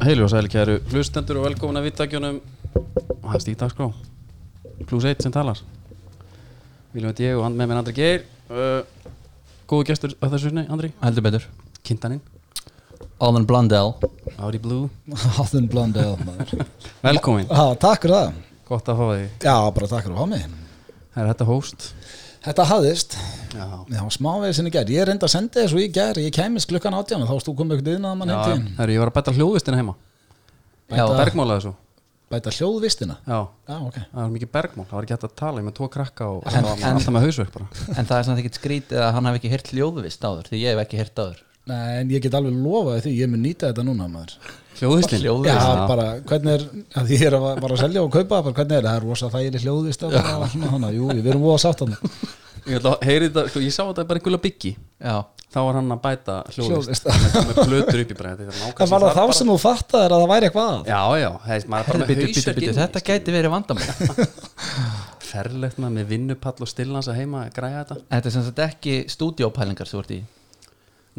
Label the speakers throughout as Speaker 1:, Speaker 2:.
Speaker 1: Heilu og sæli kæru hlustendur og velkomin að vittakjunum og hans í dagskrá pluss sko. eitt sem talar Viljum að ég og hann með mér Andri Geir uh, Góðu gestur að þessu sinni, Andri
Speaker 2: Heldur betur
Speaker 1: Kintaninn,
Speaker 2: Alan Blundell
Speaker 1: Audi Blue
Speaker 3: Hafðun Blöndel maður.
Speaker 1: Velkomin,
Speaker 3: Já, takk fyrir það
Speaker 1: gott að fá þig
Speaker 3: Já, bara takk fyrir að fá mig
Speaker 1: Það er þetta host
Speaker 3: Þetta hafðist
Speaker 1: Já,
Speaker 3: Já, smávegis inn í gær Ég reyndi að senda þessu í gær Ég kæmist klukkan átján og Þá stú komið ykkur inn að mann
Speaker 1: Já
Speaker 3: heim
Speaker 1: heru, ég var að bæta hljóðvistina heima
Speaker 2: Já.
Speaker 1: Bæta Bergmála þessu
Speaker 3: Bæta hljóðvistina
Speaker 1: Já,
Speaker 3: Já, ok
Speaker 1: það var mikið bergmál, það var ekki hægt að tala ég með tvo krakka og
Speaker 2: En-
Speaker 1: það var
Speaker 2: en-
Speaker 1: alltaf með hausverk bara
Speaker 2: En það er samt ekkert skrítið að hann hef ekki heyrt hljóðvist áður Því ég hef ekki heyrt áður
Speaker 3: Nei, en ég get alveg lofað því Ég mun nýta þetta núna maður
Speaker 1: Hljóðvistin
Speaker 2: Hljóðvistin.
Speaker 3: Já,
Speaker 1: Já,
Speaker 3: bara hvernig er að Því ég er að, bara að selja og kaupa bara, Hvernig er það? Það er rosa þægileg hljóðvist og allt svona, þannig að Jú, við erum voða sátt hann
Speaker 1: Ég, ætla að heyri þetta, sko, ég sá þetta bara einhverja byggi
Speaker 2: Já
Speaker 1: þá var hann að bæta hljóðvist
Speaker 3: Hljóðvist.
Speaker 1: með með blötur upp í bræði
Speaker 3: Það var það þá sem þú fattaðir að það væri eitthvað að?
Speaker 1: já, já, heist, maður er bara
Speaker 2: Herri,
Speaker 1: með
Speaker 2: bitu, bitu,
Speaker 1: hausverk
Speaker 2: bitu,
Speaker 1: inni,
Speaker 2: Þetta gæti verið vandamál
Speaker 1: sko. ferlegt maður með vinnupall og stillans að heima að græja þetta
Speaker 2: Þetta er sem sagt ekki stúdiópælingar sem þú ert í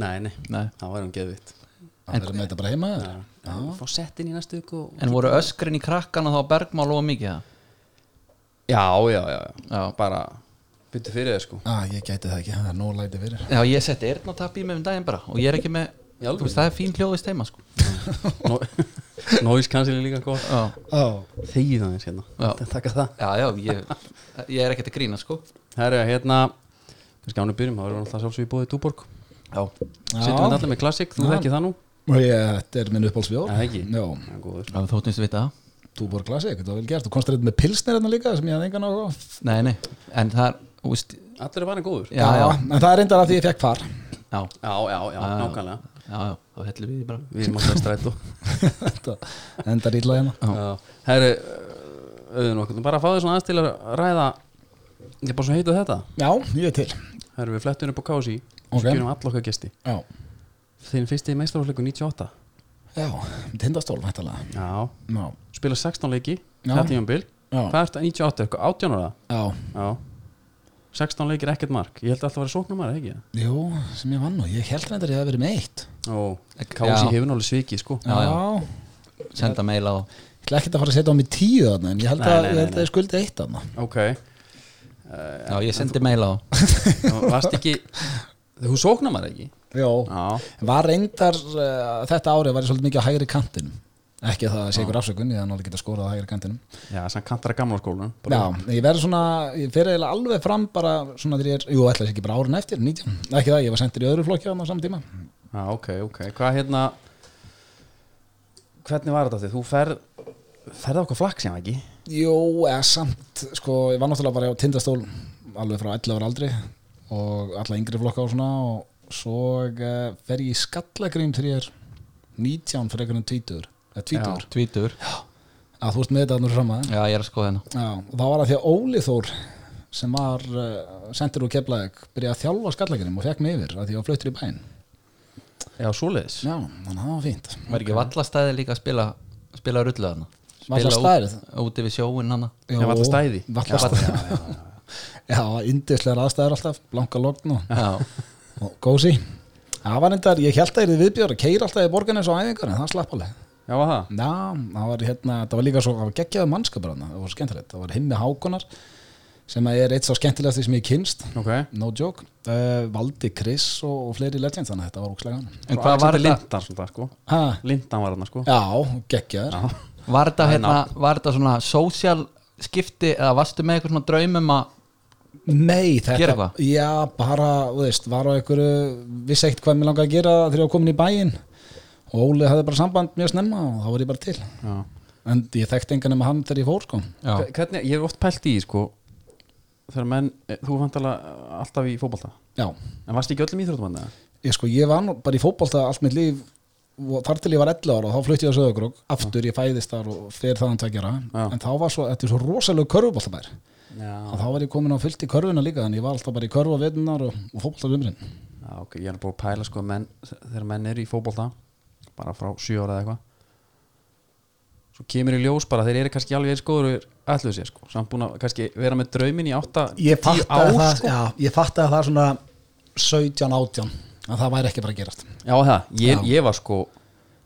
Speaker 1: nei, nei,
Speaker 2: Nei.
Speaker 1: það var hann geðvitt
Speaker 3: Það er með þetta bara heima þér?
Speaker 1: fá sett inn í næstu ykkur og...
Speaker 2: En voru öskrin í krakkana þá bergmál og mikið það
Speaker 1: já, já, já, já,
Speaker 2: Já.
Speaker 1: bara byttu fyrir þér sko
Speaker 3: Á, Ah, ég gæti það ekki, það er nóg læti fyrir
Speaker 2: Já, ég setti eyrnatapp í mig um daginn bara Og ég er ekki með
Speaker 1: Í alvöru?
Speaker 2: Þú veist, það er fín hljóðvist heima sko
Speaker 1: Nó- noise cancelling líka gott
Speaker 2: Já,
Speaker 3: Ó,
Speaker 1: þegið aðeins hérna,
Speaker 2: Já.
Speaker 1: Þetta taka það
Speaker 2: já, já ég, ég er ekkert að grína sko
Speaker 1: herru, hérna, kannski ánum byrjum þá erum við alltaf sjálfsög í bóði Dúborg
Speaker 2: Já
Speaker 1: sittum við allir með klassik, þú
Speaker 3: Já.
Speaker 1: þekki það nú
Speaker 3: Og ég, þetta er minn uppáhaldsbjór
Speaker 1: eða ekki,
Speaker 3: Já,
Speaker 1: Það er góður.
Speaker 2: Já, þóttum við vita það
Speaker 3: Túborg Classic, þetta var vel gert Þú komst reynd með pilsnir hérna líka sem ég hafði engan á
Speaker 2: Nei, nei, en það er, þú veist
Speaker 1: allir er vanið góður
Speaker 2: Já, já,
Speaker 3: En það er reyndar að því ég fekk par
Speaker 2: já,
Speaker 1: já, já, já,
Speaker 2: Já.
Speaker 1: nákvæmlega
Speaker 2: já, já, þá hellum við í bara
Speaker 1: Við erum alltaf í strætó
Speaker 3: Þetta endar illa hérna
Speaker 1: Já. Herri, uh, auðvitað okkur Bara að fá þér svona aðeins til að ræða Ég er bara svo heitað þetta
Speaker 3: Já, ég er til
Speaker 1: Herri, við flettum upp á kási Og
Speaker 3: Ok.
Speaker 1: svo gerum all okkar gesti
Speaker 3: Já,
Speaker 1: Þinn fyrsti meistarhóðleiku 98
Speaker 3: já tindastól væntalega
Speaker 1: Já
Speaker 3: Já,
Speaker 1: Spila 16 leiki
Speaker 3: Já.
Speaker 1: Það tímabil
Speaker 3: já,
Speaker 1: Hvað ertu 98? Eitthvað 18 ára?
Speaker 3: já
Speaker 1: Já 16 leikir ekkert mark Ég held alltaf að vera sóknumar, ekki?
Speaker 3: Jú, sem ég vann nú, ég held reyndar að ég hafi verið meitt
Speaker 1: Ó,
Speaker 2: Já.
Speaker 1: kási hefur náttúrulega svikið, sko
Speaker 2: Já, já. senda mail á
Speaker 3: Ég ætla ekkert að fara að setja á mig tíu þarna En ég held
Speaker 1: Nei, nei,
Speaker 3: að, ég
Speaker 1: nei,
Speaker 3: held að ég skuldi eitt þarna
Speaker 1: Ok Eh,
Speaker 2: Já, ég sendi mail á
Speaker 1: Nú, Varst ekki Þú sóknumar, ekki?
Speaker 3: Já
Speaker 1: Já
Speaker 3: Var reyndar, uh, þetta árið var ég svolítið mikið á hægri kantinum Ekki að það sé ykkur afsökun, ég hef náttúrulega getað skorað á hægri kantinum
Speaker 1: Já, sem kantar að gamla skólanum Bara-
Speaker 3: Já, ég verður svona, ég fer eiginlega alveg fram bara svona þegar ég er, jú, ætla þess ekki bara árin eftir, 19, ekki það, ég var sendur í öðru flokki þarna á saman tíma.
Speaker 1: Já, ok, ok. Hvað hérna hvernig var þetta því? Þú ferð ferð okkur flakk sem ekki?
Speaker 3: Jú, eða samt, sko, ég var náttúrulega bara á tindastól alveg frá 11 ára aldri og alla yngri flokka og svona og svo eh, fer ég í skallagrým þegar ég er 19 frekar en 20, eða 20,
Speaker 2: Tvítur
Speaker 3: að þú ert með þetta þarna fram að.
Speaker 2: Já, ég er að skoða hérna. hennar
Speaker 3: Já, og það var að því að Óli Þór sem var uh, sendur úr Keflavík byrjaði að þjálfa skallagrým og fekk mig yfir að því ég var fluttur í bæinn.
Speaker 1: Já, svoleiðis.
Speaker 3: Já, þannig að það var fínt.
Speaker 2: Var ekki vallastæði líka að spila spila rullu hann
Speaker 3: Vallastaðið?
Speaker 2: Úti við sjóin hann
Speaker 1: Nei, varla stæði.
Speaker 3: Valla stæði Já, indislegar aðstæður alltaf, blanka logn og,
Speaker 2: Já,
Speaker 3: og gósi Það var endar, ég held að ég er viðbjör að keira alltaf í borginu svo æfingar en það slapp alveg
Speaker 1: Já, var það?
Speaker 3: Já, það var hérna, það var líka svo það var geggjaði mannskap bara, það var skemmtilegt það var himmi Hákonar sem að er eitt svo skemmtilegasti sem ég kynst
Speaker 1: Ok.
Speaker 3: no joke, uh, Valdi Chris og, og fleiri legends, þannig að þetta var ókslega gaman
Speaker 2: en hvað var þetta
Speaker 1: Lindan, svona, sko.
Speaker 3: ha,
Speaker 1: Lindan var þarna, sko.
Speaker 3: Já, geggjaður
Speaker 2: Var þetta hérna, var þetta svona sósjál skipti eða varstu með eitthvað svona draumum að
Speaker 3: Nei, þetta
Speaker 2: Gera eitthvað?
Speaker 3: Já, bara, þú veist, var á einhverju vissi ekkert hvað mér langaði að gera þegar ég var komin í bæinn og Óli hafði bara samband mjög snemma og þá var ég bara til
Speaker 1: Já.
Speaker 3: en ég þekkti engan nema hann þegar ég fór sko
Speaker 2: Já,
Speaker 1: Hve- Hvernig, ég hef oft pælt í, því, sko, þegar menn, eh, þú fant alveg alltaf í fótbolta.
Speaker 3: Já,
Speaker 1: En varst ekki öllum íþróttum hann, eða?
Speaker 3: ég sko, ég var nú bara í fótbolta allt mitt líf og þar til ég var 11 ára og þá flutti ég á Söðugrók aftur, ég fæðist þar og fer þaðan tveggja
Speaker 1: Já.
Speaker 3: ára en þá var svo, þetta er svo rosalegu körfuboltabær
Speaker 1: Já.
Speaker 3: og þá var ég komin á fullt í körfuna líka en ég var alltaf bara í körfu á vetunar og, og fótboltavumrin
Speaker 1: Já, ok, ég er búin að pæla, sko, menn, þegar menn eru í fótbolta, bara frá sjö ára eða eitthvað. Svo kemur í ljós bara, þeir eru kannski alveg eins góður og ætluðu sér, sko. Samt búin að kannski vera með draumin í átta,
Speaker 3: ég
Speaker 1: tíu
Speaker 3: fattaði
Speaker 1: ár,
Speaker 3: það,
Speaker 1: sko.
Speaker 3: já, ég fattaði það svona 17, 18 að það væri ekki bara að gerast
Speaker 1: Já það, ég,
Speaker 3: Já.
Speaker 1: ég var sko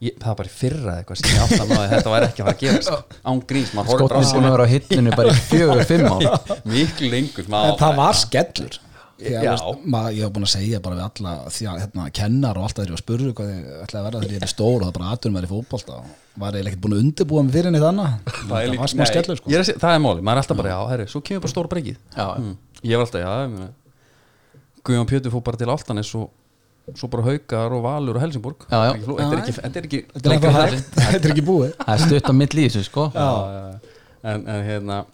Speaker 1: ég, það var bara í fyrra eða eitthvað sem ég átt að maður þetta væri ekki að fara að gera sko. án gríns, maður horfði bara á
Speaker 2: Skotnum
Speaker 3: Sko,
Speaker 2: sem
Speaker 1: svona
Speaker 2: var á hittinu bara í fjögur, fimm ár
Speaker 1: miklu lengur
Speaker 3: en
Speaker 1: maður,
Speaker 3: það var skellur Því að,
Speaker 1: Já.
Speaker 3: veist, maður, ég hef búin að segja bara við alla því að hérna, kennar og alltaf þeir eru að spurðu hvað þið ætlaði að verða þegar ég er stór og það bara aðturum verið fótbolta og var eiginlega ekkert búin að undirbúa mig fyrir neitt annað
Speaker 1: það er
Speaker 3: það
Speaker 1: líka
Speaker 3: var smá
Speaker 1: nei,
Speaker 3: skellur
Speaker 1: ég
Speaker 3: sko.
Speaker 1: er að segja- það er máli, maður er alltaf bara já, herri, svo kemur bara stóra breykið
Speaker 2: Já.
Speaker 1: mm. ég var alltaf, já ég meina, Guðjón Pjötu fór bara til Altanes og svo bara haukar og valur og Helsingborg
Speaker 2: Já, já.
Speaker 1: Ekki fló- þetta er ekki, þetta er ekki
Speaker 3: þetta er
Speaker 1: lengra
Speaker 3: ekki
Speaker 1: hægt.
Speaker 3: hægt, þetta er ekki búið
Speaker 2: Það er stutt á milli í þessu sko
Speaker 1: Já, já, já. en, en hérna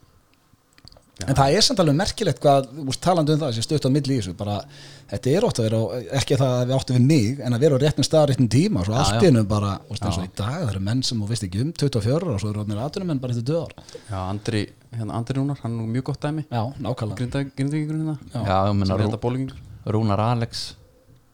Speaker 3: en það er samt alveg merkilegt hvað úst, talandi um það sem stutt á milli í þessu bara, þetta er ótt að vera, á- ekki það að við áttu við mig en að vera á réttum stað á réttum tíma svo
Speaker 2: Já,
Speaker 3: allt
Speaker 2: já.
Speaker 3: innum bara, úst, eins og í dag það eru menn sem þú veist ekki um 24 og svo eru orðnir aðturum menn bara eftir döðar
Speaker 1: já, Andri, hérna Andri Rúnar, hann er nú mjög gott dæmi
Speaker 3: já, nákvæmlega
Speaker 1: grindvíkingurinn hérna
Speaker 2: Já,
Speaker 1: sem
Speaker 2: ég meina
Speaker 1: er
Speaker 2: Rú,
Speaker 1: þetta bólingur
Speaker 2: Rúnar Alex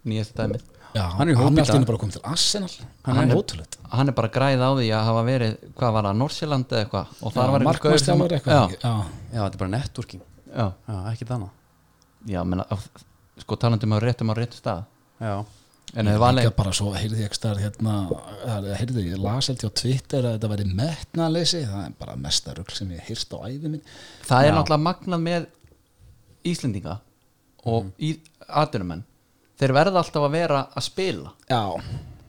Speaker 2: Nýjast dæmi
Speaker 3: já,
Speaker 1: Hann er í hópi í
Speaker 3: allt
Speaker 1: dag.
Speaker 3: innum bara komið til Arsenal
Speaker 1: Hann
Speaker 3: hann
Speaker 1: er-
Speaker 3: er ótrúlegt
Speaker 2: Hann er bara græð á því að hafa verið Hvað var það, Norsjöland eða eitthvað Og þar var einhver gaur sem-
Speaker 3: markmannstjálfari eitthvað
Speaker 2: Já,
Speaker 3: já.
Speaker 1: já, þetta er bara networking,
Speaker 2: já,
Speaker 1: já, ekkert annað
Speaker 2: já, meina Sko talandi um að réttum á réttum stað
Speaker 1: já,
Speaker 2: En þau
Speaker 3: Líka
Speaker 2: valið
Speaker 3: bara svo heyrði ég ekki starf hérna eða heyrði ég las held ég á Twitter að þetta væri metnaleysi það er bara mesta rugl sem ég heyrst á æfi minn
Speaker 2: Það er náttúrulega magnað með Íslendinga og
Speaker 3: Mhm.
Speaker 2: mm. í, aturumenn Þeir verða alltaf að vera að spila
Speaker 3: Já,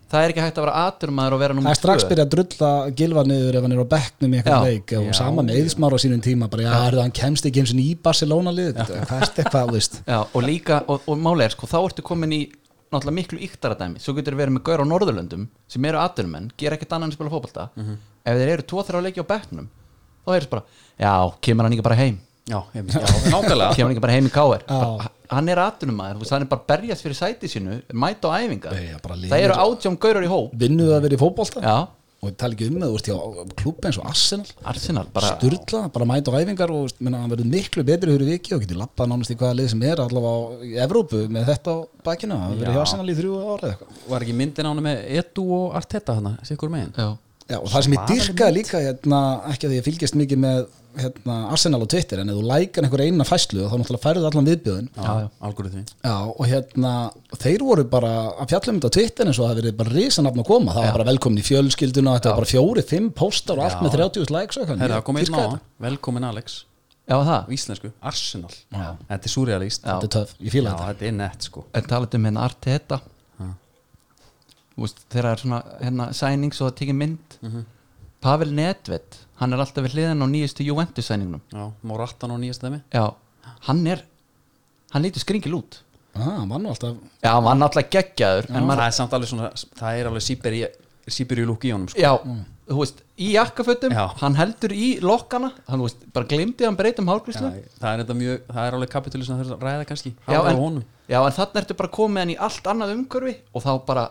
Speaker 2: Það er ekki hægt að vera aturumæður og vera
Speaker 3: það
Speaker 2: nummer
Speaker 3: er strax
Speaker 2: 2.
Speaker 3: byrjað að drulla gilva niður ef hann er á bekknum í eitthvað
Speaker 2: Já.
Speaker 3: leik og
Speaker 1: Já,
Speaker 3: sama með Eðismar á sínum tíma bara, já, heyrðu, hann kemst ekki eins og ný Barcelona lið hvað er þetta, hvað, þú veist
Speaker 2: Já, og líka, og, og máli er sko, þá ertu komin í náttúrulega miklu yktaradæmi, svo getur verið með gaur á Norðurlöndum sem eru aðdurumenn, gera ekkert annan en spila fótbolta,
Speaker 3: Mhm.
Speaker 2: ef þeir eru tvo þrjá leiki á bekknum, þá er þess bara já, kemur hann ekki bara heim,
Speaker 1: já, ég, já nákvæmlega
Speaker 2: kemur hann ekki bara heim í káir
Speaker 3: Já.
Speaker 2: hann er aðdurumæður, hann er bara að berjast fyrir sæti sínu, mæta á æfingar
Speaker 3: Nei, já, bara liður.
Speaker 2: það eru átján gaurar í hóp
Speaker 3: vinnuðu að vera í fótbolta
Speaker 2: já,
Speaker 3: og ég tala ekki um það, þú veist, já, klubba eins og Arsenal
Speaker 2: Arsenal, bara
Speaker 3: Sturla, bara mæta á æfingar og veist, minna, hann verður miklu betri fyrir viki og getur lappað nánast í hvaða lið sem er allavega á í Evrópu með þetta á bakinu hann verður hjá Arsenal í þrjú ára eitthvað
Speaker 1: var ekki myndin á hann með Edu og Arteta hana, sikkur megin
Speaker 2: já,
Speaker 3: Já, og það sem ég dyrkaði líka hérna, ekki að því ég fylgist mikið með hérna, Arsenal og Twitter en ef þú lækar einhver eina fæslu þá náttúrulega færðu allan viðbjöðin
Speaker 1: já,
Speaker 2: Já, já.
Speaker 1: algoritmi
Speaker 3: Já, og hérna, og þeir voru bara að fjalla um þetta á Twitter eins og það verið bara risanafn að koma, það var bara velkomin í fjölskylduna þetta var bara fjóri, fimm póstar og allt með 30 likes og eitthvað.
Speaker 1: Herra,
Speaker 3: Ég
Speaker 1: kom einn á
Speaker 3: dýrkaði
Speaker 1: hann, velkomin Alex
Speaker 2: já það
Speaker 1: á íslensku, Arsenal þetta er surrealist
Speaker 2: Já.
Speaker 1: já,
Speaker 3: þetta er töf, ég fíla þetta
Speaker 1: þetta er nett sko
Speaker 2: en talað um hérna Arteta Þú veist, þegar það er svona hérna sænings og það tekið mynd
Speaker 3: Mhm.
Speaker 2: Pavel Nedved hann er alltaf við hliðan á nýjustu Juventus sæningnum
Speaker 1: já, Moratan og nýjast dæmi
Speaker 2: já, hann er hann lítur skringil út
Speaker 3: Já, hann Ah, var nú alltaf
Speaker 2: já, hann var náttúrulega geggjaður en maður,
Speaker 1: það er samt alveg svona, það er alveg síberi síberi lúk í honum sko
Speaker 2: já, þú veist í jakkafötum,
Speaker 1: Já.
Speaker 2: hann heldur í lokkana, hann þú veist, bara glimtið hann um breytum hárgríslu
Speaker 1: það, það er þetta mjög, það er alveg kapitúli sem það þurfa að ræða kannski
Speaker 2: já,
Speaker 1: Ráða á
Speaker 2: en,
Speaker 1: honum.
Speaker 2: já, en þarna ertu bara komið hann í allt annað umhverfi og þá bara,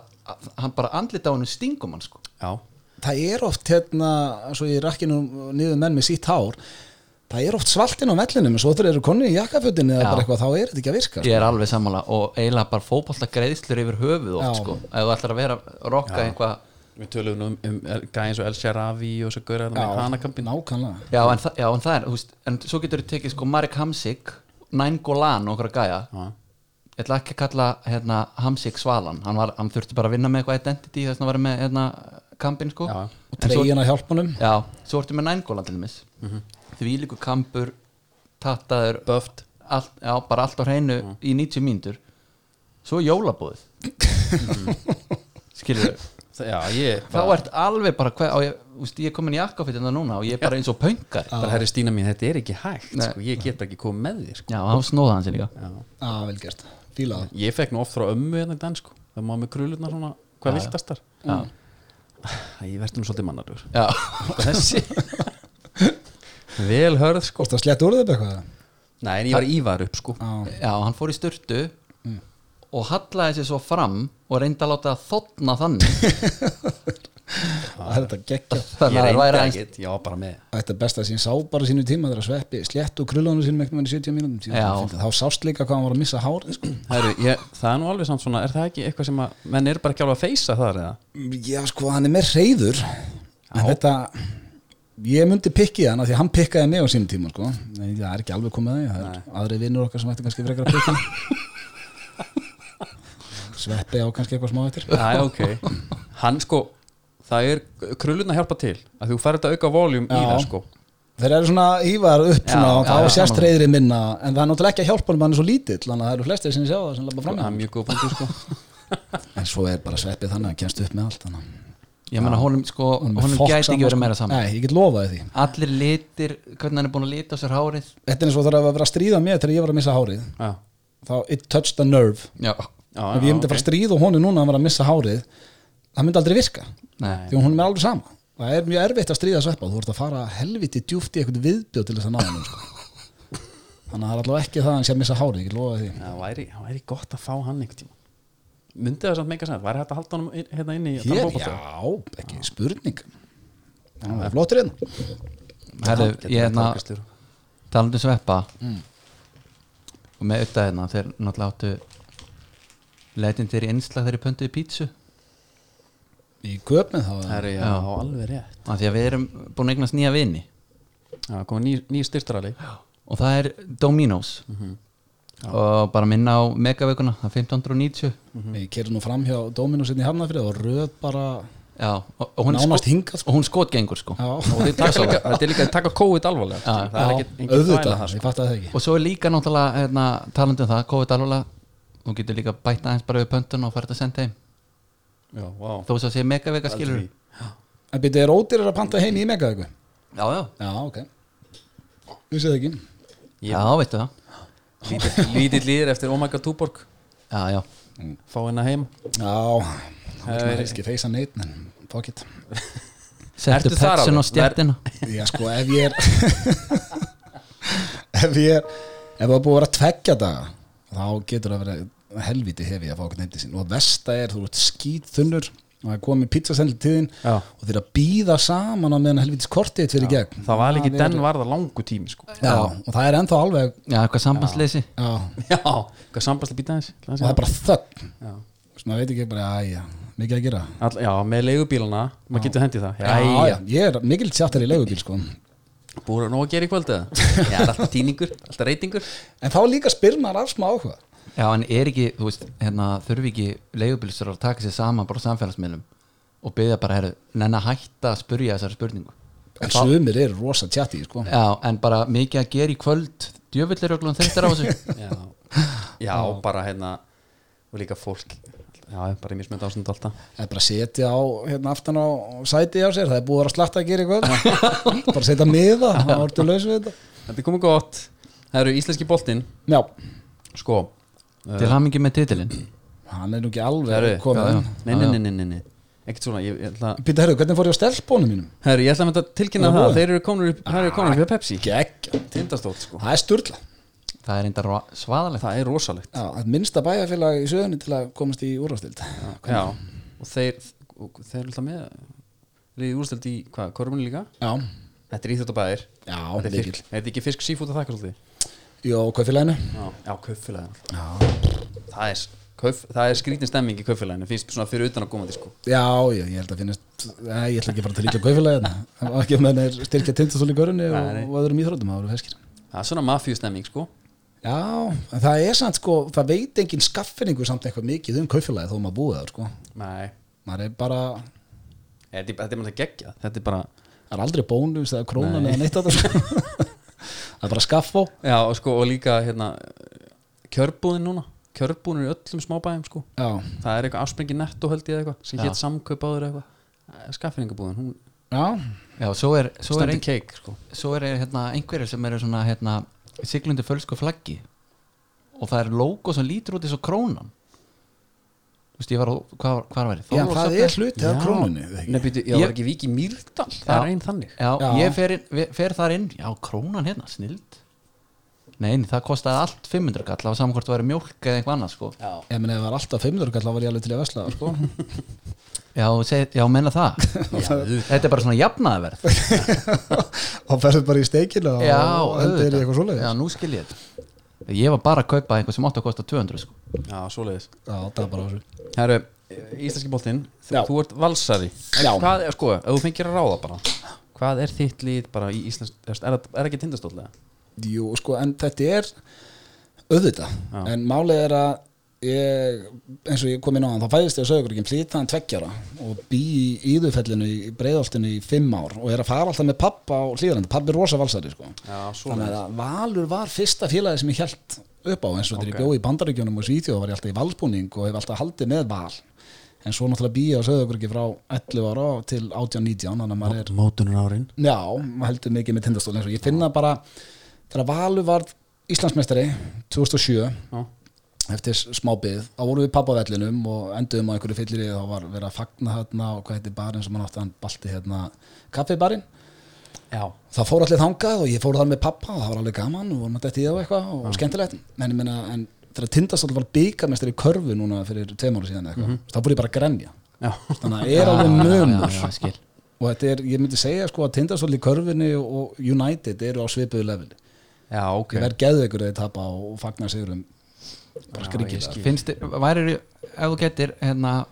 Speaker 2: hann bara andlita á hann stingum hann sko
Speaker 1: já,
Speaker 3: það er oft hérna svo ég rakkinu niður menn með sítt hár það er oft svaltinn á mellinu en svo þeir eru konni í jakkafötinu eða
Speaker 2: Já.
Speaker 3: bara eitthvað, þá er þetta ekki að virka
Speaker 2: ég er alveg sammála og eiginlega bara fótballta greiðslur yfir höfuð oft
Speaker 3: Já.
Speaker 2: sko ef þú ætlar að vera rokka einhvað
Speaker 1: við tölum nú um, um gæði eins og El Sharavi og svo gaur þetta með hanakampin
Speaker 3: nákvæmlega
Speaker 2: já en, þa- já en það er þú veist, en svo getur þú tekið sko Marek Hamsik Nain Golan og okkur að gæja
Speaker 1: Já.
Speaker 2: ég ætla ekki að kalla hérna, Hamsik Svalan hann, var, hann þurfti bara að vinna með eitthvað identity þess að vera með hérna, kampin sko
Speaker 1: Já.
Speaker 3: og treyjan að hjálpa honum
Speaker 2: já, svo ertu með Nain Golan til dæmis því líku kampur tattaður
Speaker 1: Böft
Speaker 2: allt, já, bara allt á hreinu í 90 mínútur svo jólabóðið skilur þau
Speaker 1: já, ég
Speaker 2: þá ert alveg bara hver, á, ég, úst, ég er komin í akkafittina núna og ég er bara eins og pönkar
Speaker 1: bara herri Stína mín, þetta er ekki hægt
Speaker 2: Nei.
Speaker 1: sko, ég get ekki komið með þér sko.
Speaker 2: já, þá snóða hann sér líka
Speaker 1: Já.
Speaker 3: Já, Ah, vel gert, fíla það
Speaker 1: ég fekk nú oft frá ömmu hérna í dans sko. það má með krulurnar svona, hvað viltastar
Speaker 2: já,
Speaker 1: ég verður nú svolítið mannarur
Speaker 2: já.
Speaker 1: þessi vel hörð sko
Speaker 3: Hvort það slett úr þetta eitthvað?
Speaker 1: nei, en ég var ívar upp sko
Speaker 3: Já,
Speaker 2: já hann fór í styrtu og hallaði sér svo fram og reyndi að láta það þotna þannig
Speaker 3: það er þetta geggja
Speaker 1: ég
Speaker 2: þannig að það
Speaker 1: reyndi
Speaker 2: væri aðeins
Speaker 1: ekkert, ég var bara með
Speaker 3: Þetta er best að sín sá bara sínu tíma þegar að sveppi slett og krullunum sínum einhvern veginn í 70
Speaker 2: Já.
Speaker 3: mínútum síðan. þá sást líka hvað hann var að missa hárið sko.
Speaker 1: Heru, ég, það er nú alveg samt svona, er það ekki eitthvað sem að menn eru bara ekki alveg að feysa þar eða
Speaker 3: Já, sko, hann er með reyður en þetta ég myndi pikkið hann af því að hann pikkaði mig á sínum tíma sko. en það er ekki alveg komið að því það er aðri vinnur okkar sem ætti kannski frekar að pikka sveppi á kannski eitthvað smá eftir
Speaker 1: Æ, ok, hann sko það er krullun að hjálpa til að þú færði að auka voljum í
Speaker 3: Já.
Speaker 1: það sko
Speaker 3: Þeir eru svona ívar upp
Speaker 2: Já,
Speaker 3: svona og
Speaker 2: já,
Speaker 3: þá
Speaker 2: já,
Speaker 3: sést
Speaker 2: saman.
Speaker 3: reyðrið minna en það er náttúrulega ekki að hjálpa hann er svo lítill þannig að það eru flestir sem sjá það sem labba
Speaker 1: það
Speaker 3: fram í
Speaker 1: er
Speaker 3: hann.
Speaker 1: mjög góð punktur sko
Speaker 3: En svo er bara sveppið þannig að hann kemst upp með allt þannig. að
Speaker 2: Ég meina honum sko,
Speaker 3: honum
Speaker 2: honum,
Speaker 3: er fokk
Speaker 2: gæti
Speaker 3: sama,
Speaker 2: ekki verið
Speaker 3: sko.
Speaker 2: meira saman
Speaker 3: Nei, ég get lofaði því
Speaker 2: Allir litir, hvernig hann er búin að lita á sér hárið
Speaker 3: Þetta er eins og það var að vera að stríða mér þegar ég var að missa hárið
Speaker 1: já,
Speaker 3: þá it touched a nerve
Speaker 2: Já,
Speaker 1: já,
Speaker 3: ef ég myndi
Speaker 1: ok.
Speaker 3: fara að stríða og honum núna að hann var að missa hárið það myndi aldrei virka
Speaker 2: nei,
Speaker 3: því hún er alveg sama það er mjög erfitt að stríða sveppa þú ert að fara helviti djúft í eitthvað viðbjóð til þess að ná hann sko. þannig að það er allavega ekki það að hann sé að missa hárið ég get lofaði því
Speaker 1: það væri, það væri gott að fá hann einhvern tíma myndi það samt meika sætt, væri hægt að halda honum inn- hérna inni í að tala
Speaker 3: Hér,
Speaker 1: fótbolta?
Speaker 3: já, ekki spurning Já, það er flottur hérna
Speaker 1: Getur
Speaker 2: herðu, ég
Speaker 1: verið
Speaker 2: hérna
Speaker 1: torkastjóri.
Speaker 2: talandi um sveppa og með auðvitað hérna þeir náttúrulega áttu leitin þeir í einslag þegar ég pöntuði pítsu
Speaker 3: í köpmið þá
Speaker 1: Það
Speaker 3: er-
Speaker 1: er já,
Speaker 2: Já.
Speaker 1: alveg rétt
Speaker 2: af því að við erum búin að eignast nýja vini
Speaker 1: Það komið ný, ný styrtarali
Speaker 2: og það er Domino's og bara minna á megaveikuna það er 1590
Speaker 3: ég kerði nú fram hjá Dóminu sinni í Hafnafrið og röð bara
Speaker 2: já, og, og, hún er
Speaker 3: nánast
Speaker 2: sko-
Speaker 3: hingað sko.
Speaker 2: og hún skotgengur sko
Speaker 1: og
Speaker 3: já,
Speaker 1: þeir taka líka, þetta er líka að taka COVID alvarlega
Speaker 2: Já.
Speaker 1: það er ekkit engin
Speaker 3: auðvitað,
Speaker 1: þvæla þar, sko.
Speaker 3: ég fatt að það ekki
Speaker 2: og svo er líka náttúrulega hérna, talandi um það, COVID alveg þú getur líka bætt aðeins bara við pöntun og farið að senda heim
Speaker 1: sko. já, vá.
Speaker 2: þó svo að segja megaveika skilur
Speaker 1: Aldrei.
Speaker 3: en byrja, er ódýrar að panta heim í mega eitthvað
Speaker 2: já, já,
Speaker 3: já, ok ég sé það ekki
Speaker 1: Ég-
Speaker 2: já, veistu það
Speaker 1: Lítill- lítill líðir eftir Oh Omega Tuborg
Speaker 2: já, já,
Speaker 1: fá hennar heim
Speaker 3: já,
Speaker 1: Það
Speaker 3: það
Speaker 1: er-
Speaker 3: er ekki feysa neitt en fuck it
Speaker 2: settu
Speaker 1: Ertu þar
Speaker 2: petsin
Speaker 1: alveg?
Speaker 2: á stjertina
Speaker 3: já, sko, ef ég er ef ég er ef það er búið að vera tveggja daga þá getur það verið helviti hefi að fá okkur nefndi sín og vesta er, þú ert skýt þunnur og það er komið pizzasendli tíðin
Speaker 1: Já.
Speaker 3: og þeir að býða saman á meðan helvitis kortið fyrir gegn
Speaker 1: það var líki
Speaker 3: er-
Speaker 1: den varða langu tími sko.
Speaker 3: já, og það er ennþá alveg
Speaker 2: já, eitthvað sambandsleysi
Speaker 3: já, og
Speaker 1: já, hvað sambastlega býta aðeins
Speaker 3: það er bara þögn
Speaker 1: Já.
Speaker 3: svona veit ekki bara, æja, mikið að gera
Speaker 1: All, já, með leigubílana, maður getur hendið það
Speaker 3: já,
Speaker 1: já,
Speaker 3: já, ég er mikill sjáttar í leigubíl sko
Speaker 1: búið nú að gera í kvöld eða já, alltaf tíningur, alltaf reytingur
Speaker 3: en þá líka spyr maður af smá áhuga
Speaker 2: já, en er ekki, þú veist, hérna þurfi ekki leigubilsur að taka sér saman bara á samfélagsmiðlum og byggja bara, herru, nenn að hætta að spurja þessari spurningu
Speaker 3: en sumir eru rosa tjatti sko
Speaker 2: já, en bara mikið að gera í kvöld djöfullir öglum þreyttar á þessu
Speaker 1: já, já bara hérna og líka fólk já, bara í mismönd ásund alltaf
Speaker 3: Það er bara að setja á hérna aftan á sæti á sér, það er búið að vera slatta að gera eitthvað bara að setja miða, það er orðið laus við þetta
Speaker 1: þetta er komið gott, það eru íslenski boltinn
Speaker 3: Já,
Speaker 1: sko
Speaker 2: til hamingi með titilinn
Speaker 3: hann er nú ekki alveg
Speaker 1: Herru,
Speaker 3: komið
Speaker 2: já,
Speaker 3: já,
Speaker 2: já.
Speaker 1: nei, nei, nei, nei, nei, nei. ekkert svona ég, ég ætla,
Speaker 3: Pítur, herru, hvernig fór ég á stelpónu mínum?
Speaker 1: herru, ég ætla að mynda að tilkynna
Speaker 3: Já,
Speaker 1: það
Speaker 3: búið.
Speaker 1: þeir eru konur upp, þeir eru konur upp hjá Pepsi
Speaker 3: Gekk,
Speaker 1: tindastótt sko,
Speaker 3: það er sturla Já,
Speaker 2: það er enda ro- svaðalegt
Speaker 1: það er rosalegt
Speaker 3: það er minnsta bæjarfélag í söðunni til að komast í úrvastild
Speaker 1: já, og þeir og þeir eru alltaf með liðið úrstöld í, hvað, korfunni líka
Speaker 3: Já,
Speaker 1: þetta er íþjóttabæðir
Speaker 3: já,
Speaker 1: þetta er,
Speaker 3: líkil
Speaker 1: fisk, er þetta ekki fisk sífút að þakka svolítið
Speaker 3: Jó, hvað félaginu?
Speaker 1: já, já kaupfélagin
Speaker 3: Já,
Speaker 1: það er, kauf, það er skrítin stemming í kaupfélaginu finnst svona fyrir utan að koma til sko
Speaker 3: já, ég, ég held að finnast Nei, ég ætla ekki að fara að líka kaufélaginu Það var ekki um að þeir styrkja tindastóli í görunni og,
Speaker 1: Nei, nei.
Speaker 3: og öðrum íþróttum, það voru feskir
Speaker 1: það er svona mafíu stemming sko
Speaker 3: Já, en það er samt sko, það veit engin skaffinningu samt eitthvað mikið um kaufélagi þó maður búið það sko.
Speaker 1: nei,
Speaker 3: Maður er bara,
Speaker 1: þetta er- þetta er mann að gegja þetta er bara,
Speaker 3: það er aldrei bónus eða krónan eða neitt að það sko. Það er bara skaffó.
Speaker 1: já, og sko og líka hérna, kjörbúðin núna kjörbúðin er í öllum smábæðum sko
Speaker 3: Já,
Speaker 1: það er eitthvað afsprengi netto held ég eða eitthvað sem
Speaker 2: Já.
Speaker 1: hétt samkaupáður eitthvað skaffinningabúðin, hún
Speaker 3: já,
Speaker 2: já, svo er, svo er,
Speaker 1: stendur
Speaker 2: ein,
Speaker 1: keik sko
Speaker 2: svo er hérna, einhverjir sem eru svona hérna, siglundu fölsku flaggi og það er logo sem lítur út eins og krónan þú veist, ég var á, hvað, hvað var ég?
Speaker 3: já
Speaker 2: Þorlákshöfn?
Speaker 3: það er hluti af krónunni. eða ekki?
Speaker 1: Nei, býtu, já,
Speaker 2: Ég-
Speaker 1: var ekki Vík í Mýrdal Það
Speaker 2: Já.
Speaker 1: er einn þannig
Speaker 2: já,
Speaker 3: Já.
Speaker 2: ég fer, inn, vi- fer þar inn já, krónan hérna, snild nein, það kostaði allt 500 kall á saman hvort það væri mjólk eða eitthvað annað sko.
Speaker 1: Já,
Speaker 3: Ég meni, ef það var alltaf 500 kall, þá var ég alveg til að vesla það sko.
Speaker 2: já, seg, já, menna það
Speaker 1: já,
Speaker 2: þetta er bara svona jafnaðverð
Speaker 3: og ferður bara í steikinu og
Speaker 2: já,
Speaker 3: hendur í
Speaker 2: auðvitað.
Speaker 3: eitthvað svoleiðis.
Speaker 2: já, nú skil ég þetta ég var bara að kaupa eitthvað sem átti að kosta 200 sko.
Speaker 1: já svoleiðis
Speaker 3: Já, það er bara á þessu.
Speaker 1: Herru, íslenski boltinn
Speaker 3: Já.
Speaker 1: þú, þú ert valsari
Speaker 3: Já.
Speaker 1: Hvað er, sko, ef þú fengir að ráða bara Hvað er þitt lið bara í íslensk Er, er, það- er ekki tindastóðlega?
Speaker 3: Jú, sko, en þetta er auðvitað.
Speaker 1: Já.
Speaker 3: En málið er að ég, eins og ég kom inn á hann þá fæðist ég að sögur ekki flýtaðan tveggjara og bý í íðufellinu í breiðoltinu í fimm ár og er að fara alltaf með pappa á hlýðarandi, pappi er rosa valsari sko.
Speaker 1: Já, svona
Speaker 3: þannig að Valur var fyrsta félagi sem ég held upp á eins og þegar ég bjóði í bandaríkjunum og svítið og var ég alltaf í valsbúning og hef alltaf haldið með val en svo náttúrulega bý ég að sögur ekki frá 11 ára til 18-19 þannig að maður er
Speaker 1: Mótunar árin
Speaker 3: Já, maður heldur mikið með tindastól eins og ég finna bara þegar Valur var Íslandsmeistari 2007
Speaker 1: Já.
Speaker 3: eftir smá bið, þá vorum við pappavellinum og enduðum á einhverju fyllir í þá var verið að fagna hérna og hvað heitir barinn sem hann átti hann balti hérna kaffibarinn
Speaker 1: Já
Speaker 3: það fór allir þangað og ég fór þar með pappa og það var alveg gaman og vorum að detti í það og eitthvað og skemmtilegt, en ég meina en þegar tindastól var byggamestari í körfu núna fyrir tveim ára síðan eða eitthvað, þá fór ég bara að grenja
Speaker 1: Já,
Speaker 3: þannig að er alveg munur
Speaker 2: Mhm. já, já, skil.
Speaker 3: og þetta er, ég myndi segja sko að Tindastóll í körfinni og United eru á svipuðu level
Speaker 1: já ok
Speaker 3: ég verð geðu ykkur að þið tapa og fagna sigurum
Speaker 1: Já,
Speaker 3: bara
Speaker 1: ég
Speaker 3: skrikilega
Speaker 1: skil.
Speaker 2: finnst þér, værir ef þú getur hérna,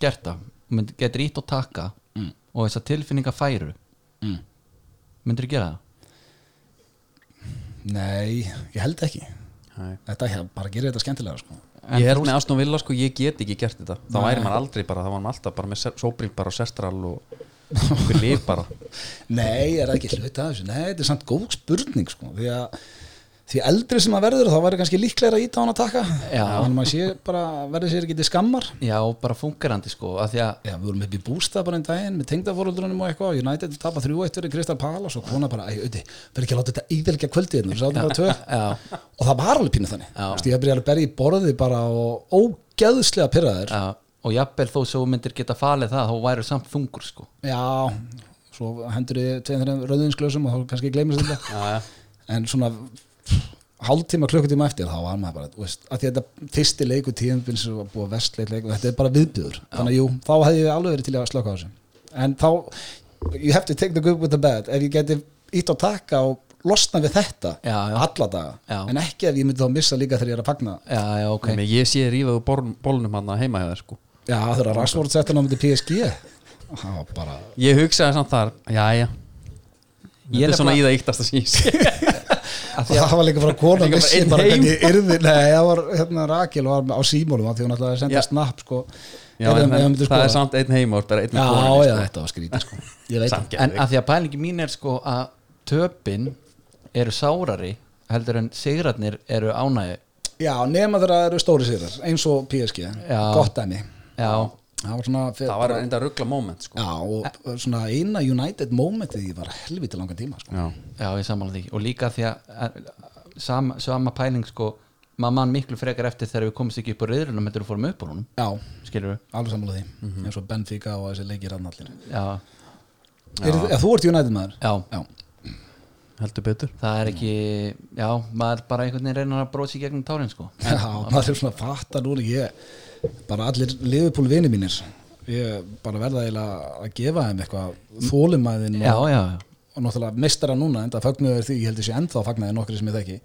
Speaker 2: gert það mynd, getur ítt og taka
Speaker 3: Mm.
Speaker 2: og þess að tilfinninga færu
Speaker 3: mm.
Speaker 2: myndir þú gera það?
Speaker 3: nei, ég held ekki
Speaker 1: Nei.
Speaker 3: þetta ég bara gerir þetta skemmtilega sko.
Speaker 2: En
Speaker 1: Ég held
Speaker 2: þú-
Speaker 1: með Aston Villa sko, ég get ekki gert þetta Þá
Speaker 3: Nei.
Speaker 1: væri maður aldrei bara, þá var maður alltaf bara með sóbríl bara og sestral og okkur líf bara
Speaker 3: nei, er það ekki hluti af þessu nei, þetta er samt góð spurning sko, því að því eldri sem að verður þá verður kannski líklega að íta á hann að taka
Speaker 2: Já.
Speaker 3: þannig maður sé bara, verður sér ekki til skammar
Speaker 2: já, bara fungerandi sko að því að
Speaker 3: Já, við vorum upp í bústað bara einn daginn með tengdafóröldrunum og eitthvað, United tapa 3-1 fyrir Kristal Palace og kona bara, æ, auði, verður ekki að láta þetta íðelgja kvöldið hérna, við sáðum bara tvö
Speaker 2: já,
Speaker 3: og það var alveg pínu þannig, þú veist, ég byrjaði að berja í borði bara og ógeðslega pyrraður,
Speaker 2: já, og jafnvel þó svo þú myndir geta falið það þá væri samt þungur sko
Speaker 3: já, svo hendur ég tveim þeirra rauðinsglösum og þá kannski gleymist þetta,
Speaker 1: Já, já
Speaker 3: en svona hálftíma, klukkutíma eftir þá var maður bara, þú veist, að því að þetta fyrsti leiku tíðanbils og búið vestleit leiku þetta er bara viðbjöður, þannig að jú, þá hefði ég alveg verið til að slöka á þessu, en þá you have to take the good with the bad ef ég geti ítt á taka og losna við þetta,
Speaker 2: Já, já.
Speaker 3: alla daga
Speaker 2: Já.
Speaker 3: en ekki ef ég myndi þá missa líka þegar ég er að fagna
Speaker 2: já, já, ok
Speaker 1: Nei, ég sé rífaðu bólnum hann heima hjá þér sko
Speaker 3: já, þegar að Rashford setja hann á myndi PSG það var bara
Speaker 1: Ég hugsaði samt þar, já, já Þetta er svona í það yktast að síns
Speaker 3: og það var líka frá kona
Speaker 1: Líka bara
Speaker 3: vissi
Speaker 1: einn
Speaker 3: bara
Speaker 1: heim.
Speaker 3: hvernig yrði nei, það var hérna Rakel var á símólum af því hún ætlaði að senda
Speaker 1: Já.
Speaker 3: snapp sko
Speaker 1: Já,
Speaker 3: Heyrðu,
Speaker 1: en,
Speaker 3: ef ég myndi
Speaker 1: það
Speaker 3: skoða.
Speaker 1: er samt einn heima og bara einn með
Speaker 3: Já,
Speaker 1: konunni,
Speaker 3: já,
Speaker 1: sko.
Speaker 3: þetta var skrítið sko Ég veit
Speaker 1: Samt
Speaker 3: það
Speaker 2: en
Speaker 1: geðveikt.
Speaker 2: að því að pælingi mín er sko að töpin eru sárari heldur en sigrarnir eru ánægi
Speaker 3: Já, nema þegar það eru stóri sigrar eins og PSG,
Speaker 2: Já.
Speaker 3: gott dæmi
Speaker 2: já,
Speaker 3: Það var svona fyr,
Speaker 1: Það var enda ruggla moment sko
Speaker 3: Já, og svona eina United momentið ég var helviti langan tíma sko
Speaker 1: Já,
Speaker 2: Já, ég samanlega því og líka því að að- sama, sama pæling sko maður mann miklu frekar eftir þegar við komumst ekki upp á reyðrunum heldur við fórum upp á honum,
Speaker 3: Já,
Speaker 2: skilur við
Speaker 3: alveg sammála því
Speaker 1: Mhm.
Speaker 3: eins og Benfica og þessi leikir hann allir
Speaker 2: Já,
Speaker 3: er, ja, Þú ert United maður?
Speaker 2: já,
Speaker 3: Já,
Speaker 1: heldur betur
Speaker 2: það er ekki já, maður bara einhvern veginn reynar að brósi gegnum tárin sko
Speaker 3: já maður er svona að fatta núna ég bara allir Liverpool vini mínir ég bara verða eiginlega að gefa þeim eitthvað þólimæðin
Speaker 2: Já, já, já,
Speaker 3: og náttúrulega mistara núna enda fagnuður því, ég held þessi ennþá fagnaði nokkri sem ég þekki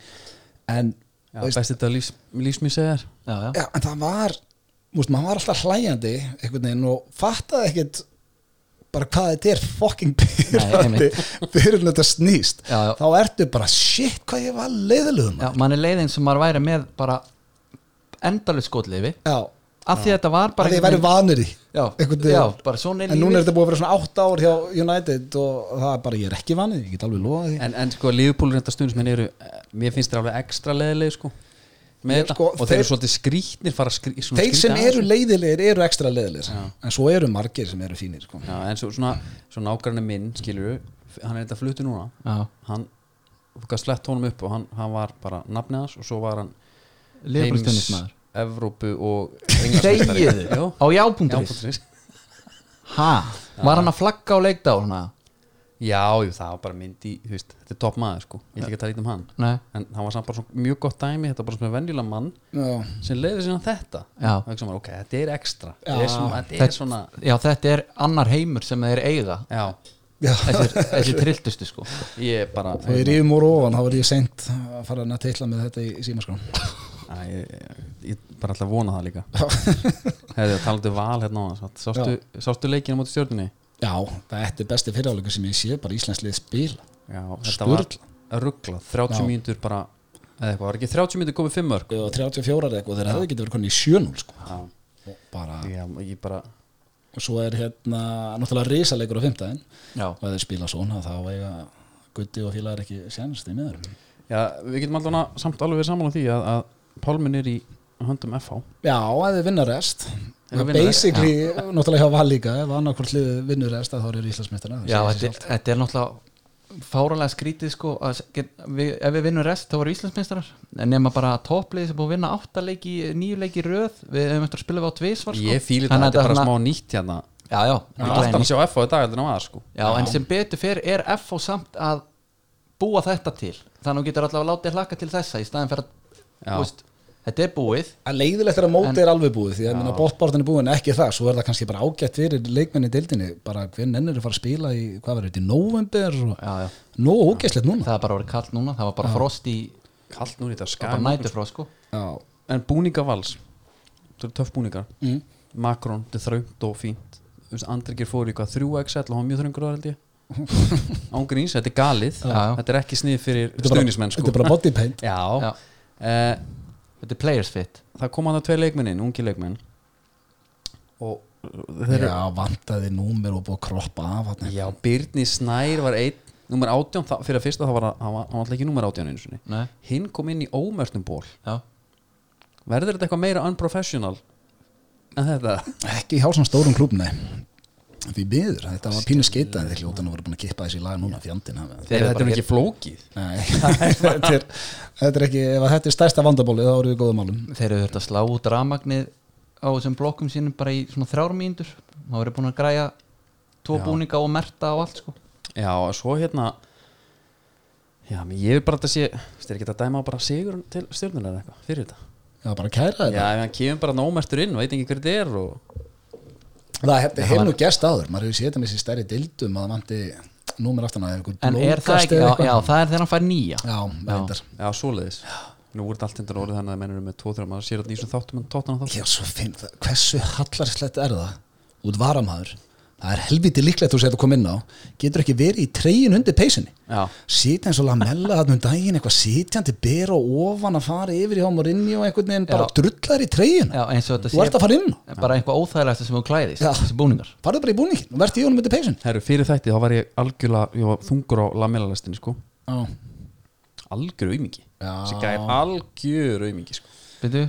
Speaker 3: en,
Speaker 1: Já,
Speaker 3: veist,
Speaker 1: best þetta lífs, lífsmísi er
Speaker 2: já, já.
Speaker 3: já, en það var múst, maður var alltaf hlæjandi einhvern veginn og fattaði ekkert bara hvað þetta er fucking pyrrandi fyrir en þetta snýst
Speaker 2: Já, já.
Speaker 3: þá ertu bara shit hvað ég var leiðilegum
Speaker 2: já mann er leiðin sem maður væri með bara endalus skotleifi
Speaker 3: já,
Speaker 2: af því að þetta var bara
Speaker 3: að ég
Speaker 2: einhvern
Speaker 3: væri vanur í
Speaker 2: Já,
Speaker 3: einhvern
Speaker 2: já,
Speaker 3: veginn.
Speaker 2: bara svona er
Speaker 3: en núna
Speaker 2: lífið.
Speaker 3: er þetta búið að vera svona 8 ár hjá United og það er bara ég er ekki vanið, ég get alveg lofað því
Speaker 1: En, en sko, lífupúlur þetta stundum sem henni eru eh, Mér finnst þeir alveg ekstra leðileg sko Með
Speaker 3: Ég,
Speaker 1: þetta
Speaker 3: sko,
Speaker 1: Og þeir eru
Speaker 3: þeir-
Speaker 1: svolítið skrýtnir fara skrí, svona
Speaker 3: þeir sem
Speaker 1: skrýta
Speaker 3: eru
Speaker 1: aðeins.
Speaker 3: leiðilegir eru ekstra leiðilegir en svo eru margir sem eru fínir sko.
Speaker 1: Já, en svo, svona, svona ágræni minn, skilur Hann er þetta flutu núna
Speaker 2: Já,
Speaker 1: Hann, þú gæst slett honum upp og hann, hann var bara nafnið hans og svo var hann
Speaker 2: liðbrústunnis maður
Speaker 1: Evrópu og
Speaker 2: Þegiðu,
Speaker 1: Já,
Speaker 2: á jápunkturis
Speaker 1: já,
Speaker 2: Ha, var hann að flagga á leikdá hana?
Speaker 1: Já, jú, það var bara mynd í, þú veist, þetta er topp maður sko, ég ætla ekki að tala ít um hann
Speaker 2: Nei,
Speaker 1: en hann var samt bara svona mjög gott dæmi þetta var bara svona venjulega mann
Speaker 3: Já.
Speaker 1: sem leiði sína þetta
Speaker 2: Já.
Speaker 1: og ekki svona, ok, þetta er ekstra
Speaker 3: Já.
Speaker 1: þetta er svona, þetta
Speaker 2: Þetta-
Speaker 1: er svona
Speaker 2: Já, þetta er annar heimur sem þeir eiga
Speaker 1: já,
Speaker 3: Já.
Speaker 2: Þessir, þessir trilltustu sko
Speaker 1: ég er bara
Speaker 3: Þegar ég rífum úr ofan, þá var ég seint að fara að teitla með þetta í sko. símaskrán
Speaker 1: hérna, Æ, ég, ég bara ætla að vona það líka hefði að tala um val hérna á hans sástu, sástu leikina mútið stjórninni
Speaker 3: Já, þetta er besti fyriráleika sem ég sé bara Íslandslið spila
Speaker 1: já, þetta
Speaker 3: Sturla.
Speaker 1: var rugglað 30
Speaker 3: Já.
Speaker 1: mínútur bara eða eitthvað, var ekki 30 myndir komið 5 mörg
Speaker 3: og 34 eða eitthvað, þeir hefði getið verið konni í 7-0 sko.
Speaker 1: já,
Speaker 3: Og bara,
Speaker 1: ég, ég bara
Speaker 3: og svo er hérna náttúrulega risaleikur á fimmtæðin
Speaker 2: Já,
Speaker 3: og ef þeir spila svona þá eiga Gutti og félagar ekki sénst í miður
Speaker 1: já, við getum allan að samt alveg verið saman á því að, að Pálmin er í höndum FH
Speaker 3: Já, ef þið vinna rest
Speaker 1: Ef þeir vinna rest,
Speaker 3: basically, náttúrulega hjá Val líka ef annarkvort liðið vinnur rest að þá eru Íslandsmyndarna
Speaker 2: já þetta, er- þetta er náttúrulega fáranlega skrítið sko að, s- get, við, ef við vinnum rest þá voru Íslandsmeistarar en nema bara toppliði sem búið að vinna átta leiki, níu leiki í röð við hefum eftir að spila við á tvisvar sko.
Speaker 1: ég fýlir
Speaker 2: Þannig
Speaker 1: þetta, þetta er bara
Speaker 2: svona-
Speaker 1: smá nýtt hérna
Speaker 2: Já,
Speaker 1: ég
Speaker 2: já,
Speaker 1: er
Speaker 2: allan
Speaker 1: alltaf
Speaker 2: í-
Speaker 1: að sjá FH í dag heldur en að var sko
Speaker 2: Já, en sem betur fyrir er FH samt að búa þetta til þannig að hún getur allavega látið hlaka til þessa í staðin fyrir að
Speaker 1: Já.
Speaker 2: þú veist, þetta er búið
Speaker 3: En leiðilegt er að móti er alveg búið því að minna bóttbártan er búin ekki það svo er það kannski bara ágætt fyrir leikmenn í deildinni bara hver nennir að fara að spila í hvað verður þetta í november og
Speaker 2: já, já.
Speaker 3: nó ógæslegt núna
Speaker 2: það er bara orðið kallt núna, það var bara frost í
Speaker 1: kallt nú í þetta
Speaker 2: bara
Speaker 1: skæm
Speaker 2: nætufrost sko
Speaker 3: Já,
Speaker 1: en búninga vals, þetta eru töff búningar
Speaker 3: mm.
Speaker 1: Macron, þetta er þröngt og fínt Þú veist, Andri ger fór í hvað 3XL og hann var mjög þröngur á held ég ángríns, þetta er galið
Speaker 2: Já, já.
Speaker 1: þetta er ekki snið fyrir
Speaker 3: Þetta er bara-
Speaker 1: stuðnismenn sko.
Speaker 3: þetta er bara body paint
Speaker 1: já,
Speaker 2: Já.
Speaker 1: Eh,
Speaker 2: þetta er players fit
Speaker 1: það koma það tvei leikmennin, ungi leikmenn og þeir eru
Speaker 3: Já, vantaði númer og búið að kroppa af hann
Speaker 1: já, Byrni Snær var einn nummer 18, það, fyrir að fyrsta það var að- hann var, hann var alltaf ekki nummer 18 einu sinni
Speaker 2: Nei,
Speaker 1: hinn kom inn í ómörnum ból
Speaker 2: já.
Speaker 1: verður þetta eitthvað meira unprofessional en þetta
Speaker 3: Ekki hjá svona stórum klúb, nei Því miður, þetta var pínu skeita en þeir hljótan að vera búin að kippa þessi í lag núna fjandinn hafi
Speaker 2: Þeir eru
Speaker 1: þetta
Speaker 2: bara hérna.
Speaker 1: er ekki flókið
Speaker 3: Nei, þetta er, þetta er ekki ef að þetta er stærsta vandabólið þá eru við í góðum málum
Speaker 2: þeir eru þurft að slá út rafmagnið á þessum blokkum sínum bara í svona þrjármýndur þá eru búin að græja tvo
Speaker 1: Já.
Speaker 2: búninga og merta og allt sko
Speaker 1: Já, og svo hérna Já, menn ég vil bara að þetta sé Þetta er ekki að dæma bara sigur til stjórnunar eða eitthvað fyrir þetta
Speaker 3: Já, bara kæra þetta
Speaker 1: Já, ef hann kemur bara nómestur inn, veit ekki hver þetta er og...
Speaker 3: Það hefði hef nú gerst áður, maður hefur séð þetta með þessi stærri dildum að það vandi númer aftan að einhver
Speaker 2: en er það
Speaker 3: blókast
Speaker 2: ekki,
Speaker 3: eða
Speaker 2: já,
Speaker 3: eitthvað.
Speaker 2: já það er þegar hann fær nýja
Speaker 3: Já, reyndar
Speaker 1: Já, svoleiðis Nú voru þetta allt hendur orðið þannig að mennur með 2-3 maður sér þetta í þessum þáttum en tóttan þáttum
Speaker 3: Já, svo finn það, hversu hallarslegt er það út varamæður það er helviti líklegt þú segir að koma inn á getur ekki verið í treyin undir peysinni
Speaker 1: Já,
Speaker 3: sitja eins og lamella hann um daginn eitthvað sitjandi bera ofan að fara yfir í hámur inni og einhvern veginn bara
Speaker 2: Já.
Speaker 3: drullar í treyin
Speaker 2: já, eins og þetta
Speaker 3: þú ert að fara inn á
Speaker 2: bara einhvað óþægilegasta sem þú klæðist
Speaker 3: Já.
Speaker 2: þessi búningar
Speaker 3: farðu bara í búningin og verður í honum undir peysin
Speaker 1: herru, fyrir þætti þá var ég algjörlega, ég var þungur á lamelalestinni sko
Speaker 3: Já,
Speaker 1: Algjör aumingi
Speaker 3: Já.
Speaker 2: Ah.
Speaker 1: Þessi gæði algjör aumingi sko
Speaker 2: Byrju,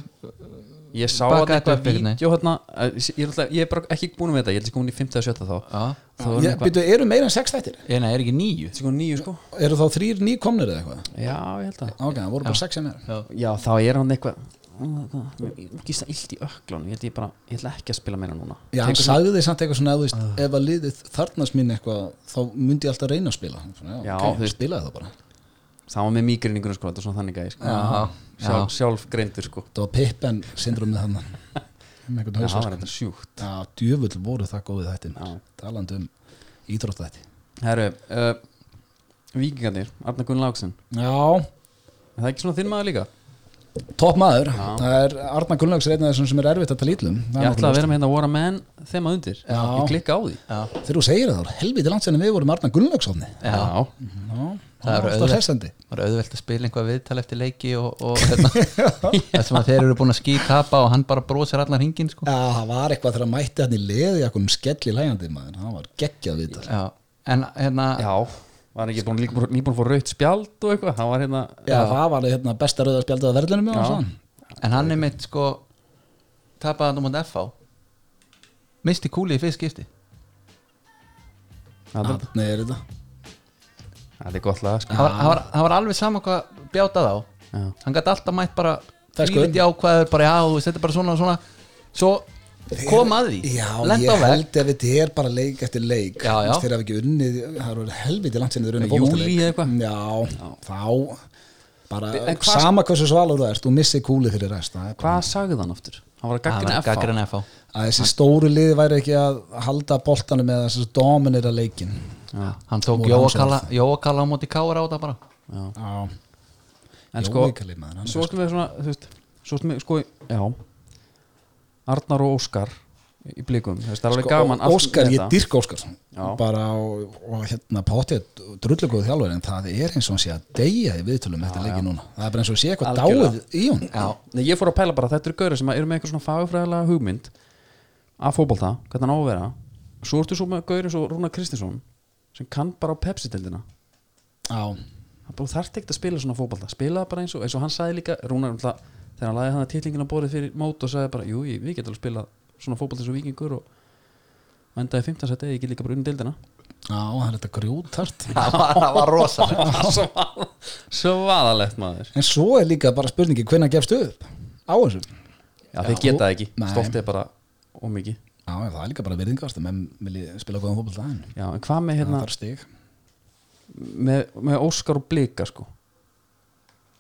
Speaker 1: Ég sá
Speaker 2: Bakaði
Speaker 1: hann eitthvað
Speaker 2: þetta upp,
Speaker 1: vídeo hérna eh, ég, er alltaf- ég er bara ekki búin með þetta, ég held ég komin í 5. að 7. þá Þá
Speaker 2: já,
Speaker 1: var hann
Speaker 3: Ég-
Speaker 1: eitthvað,
Speaker 3: byrju, eru meira en sex þættir?
Speaker 2: Ég, nei, er ekki nýju
Speaker 1: þetta er sko nýju sko
Speaker 3: Eru þá þrýr nýkomnir eða eitthvað?
Speaker 1: Já, ég held að
Speaker 3: Ok, það voru bara sex sem er
Speaker 1: Já, þá er hann eitthvað mm, Gísla illt í öklunum Ég held ég bara, ég ætla ekki að spila meira núna
Speaker 3: Já, hann sagði því samt eitthvað svona ef þú veist,
Speaker 1: Ah.
Speaker 3: ef að liðið þarnast mín eitthvað þá myndi ég alltaf reyna að spila svona,
Speaker 1: Já,
Speaker 3: ok,
Speaker 1: þú veist.
Speaker 3: spilaði það bara það
Speaker 1: Það var með mýgrinningunum sko, þetta var svona þannig gæði sko.
Speaker 2: Já, já.
Speaker 1: sjálf, sjálf greindur sko
Speaker 3: var Pippen syndromið hann um
Speaker 1: Já,
Speaker 3: einhvern
Speaker 1: það var
Speaker 3: hausverk
Speaker 1: þetta sjúkt
Speaker 3: Já, djöfull voru það góðið þetta
Speaker 1: Já.
Speaker 3: talandi um íþróttætti
Speaker 1: Herru, uh, vikingarnir, Arna Gunn Láksson
Speaker 3: Já,
Speaker 1: Er það ekki svona þinn maður líka?
Speaker 3: topp maður það er Arna Gullnags reyna þessum sem er erfitt að tala ítlum
Speaker 1: Ég ætla að vera með hérna War a Man þeim að undir
Speaker 3: Já.
Speaker 1: Ég klikka á því
Speaker 2: Já,
Speaker 3: Þegar þú segir það, þá er helviti langt sérna við vorum Arna Gullnagsofni
Speaker 2: já.
Speaker 3: Já,
Speaker 2: Það eru
Speaker 3: það er alltaf
Speaker 2: auðvelt.
Speaker 3: hressandi
Speaker 2: Það er auðvelt að spila einhvað viðtal eftir leiki og, og hérna, þessum að þeir eru búin að skítapa og hann bara brosir allan hringin sko.
Speaker 3: Já, það var eitthvað þegar hann mætti hann í leði eitthvað um skelli lægjandi maður, það var geggjað viðtal
Speaker 2: Já, en hérna
Speaker 1: Já, var hann ekki búin líka nýbúin að fór raut spjald og eitthvað Það var hérna
Speaker 3: Já, það var hérna, besta rauða spjaldið að verðlunum með hann
Speaker 2: en hann er mitt sko tapaði hann um hann FH misti kúlið í fyrst skipti
Speaker 1: Það er-
Speaker 3: Nei, er þetta
Speaker 1: það er gott lag sko.
Speaker 2: hann var, hann var, hann var alveg saman hvað bjátað á
Speaker 1: Já.
Speaker 2: hann gæti alltaf mætt bara
Speaker 3: Það er sko-
Speaker 2: þvílíkt jákvæður bara já, þú veist, þetta er bara svona og svona svo kom að því
Speaker 3: Já,
Speaker 2: lent á
Speaker 3: ég
Speaker 2: vegg
Speaker 3: held að þetta er bara leik eftir leik
Speaker 2: Já, já.
Speaker 3: Þeir hafa ekki unnið, það eru helviti langt sinni þeir unnið
Speaker 1: Júlí
Speaker 3: fótboltaleik.
Speaker 1: eða eitthvað?
Speaker 3: Já, þá bara,
Speaker 1: En hvað-
Speaker 3: sama hversu svalur það ert, þú missir kúlið fyrir rest það er bara-
Speaker 1: Hvað sagði hann aftur? Hann var að
Speaker 2: Hann var
Speaker 1: gaggrina FH
Speaker 2: gagnrýna FH
Speaker 3: Að þessi stóru liði væri ekki að halda boltanum eða þessi dominera leikin
Speaker 2: hann tók
Speaker 3: Móla
Speaker 2: Jóakala Jóakala á móti kára á þetta bara
Speaker 3: Já,
Speaker 1: En
Speaker 3: Jó,
Speaker 1: sko,
Speaker 3: Mikalín, maður, hann er
Speaker 1: svo ertum við svona, þú veist Svo ertum við, sko, já Arnar og Óskar í blikum, þú veist, það er alveg
Speaker 3: Sko,
Speaker 1: gaman allt
Speaker 3: Óskar,
Speaker 1: með
Speaker 3: ég
Speaker 1: þetta.
Speaker 3: dyrka Óskar
Speaker 1: Já.
Speaker 3: bara og, og hérna potið drullugóðu þjálfur en það er eins og hann sé að deyja í viðtölum eftir leiki núna það er bara eins og sé eitthvað
Speaker 1: Algjörlega.
Speaker 3: dáið í hún
Speaker 1: Já, nei, ég fór að pæla bara þetta eru gauður sem eru með eitthvað svona fagfræðilega hugmynd að fótbolta, hvernig hann á að vera svo ertu svo með gauður eins og Rúna Kristinsson sem kann bara á Pepsi-dildina
Speaker 3: Já,
Speaker 1: þú þarft ekkert að spila svona fótbolta spila bara eins og, eins og hann sagði líka Rúnar um það, þegar hann lagði hann að titlingin á borðið fyrir mót og sagði bara, jú, ég- við getum alveg spila svona fótbolta eins og vikingur og og endaði 15 seti, ég get líka bara unni dildina
Speaker 3: já, það er þetta grjótart
Speaker 2: það var, það var rosa
Speaker 1: Svaðalegt maður
Speaker 3: en svo er líka bara spurningi hvernig gefst upp á þessu
Speaker 1: Já, þeir geta það ekki,
Speaker 3: Nei.
Speaker 1: stoltið er bara ómikið
Speaker 3: Já, já, það er líka bara virðingast menn vilji spila góðan fótbolta en
Speaker 1: Já, en hvað með
Speaker 3: það
Speaker 1: hérna
Speaker 3: þarf stig
Speaker 1: með, með Óskar og Blika sko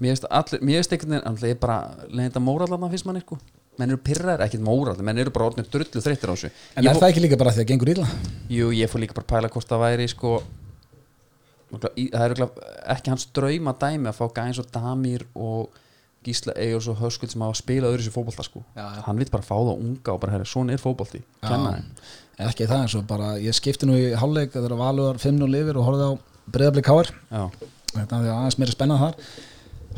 Speaker 1: mér finnst allir, mér finnst einhvern veginn alltaf ég bara leiðinda mórallarna finnst mann sko menn eru pirrar, ekkert móral, menn eru bara orðnir drullu þreyttir á þessu
Speaker 3: En
Speaker 1: ég
Speaker 3: er
Speaker 1: fó,
Speaker 3: það ekki líka bara því að gengur illa?
Speaker 1: Jú, ég fór líka bara að pæla hvort það væri sko örugglega í- það er örugglega ekki hans drauma dæmi að fá gæðins og damir og Gísla Eyjurs og Höskuld sem hafa spilað öðru sér fótbolta sko
Speaker 2: Já, já.
Speaker 1: hann vil bara fá það unga og bara herri, svona er fótbolti kenna þeim
Speaker 3: En ekki það, eins og bara ég skipti nú í hálfleik þegar Valur 5-0 yfir og horfði á breyðablið káar
Speaker 1: Já,
Speaker 3: þetta er aðeins meira spennað þar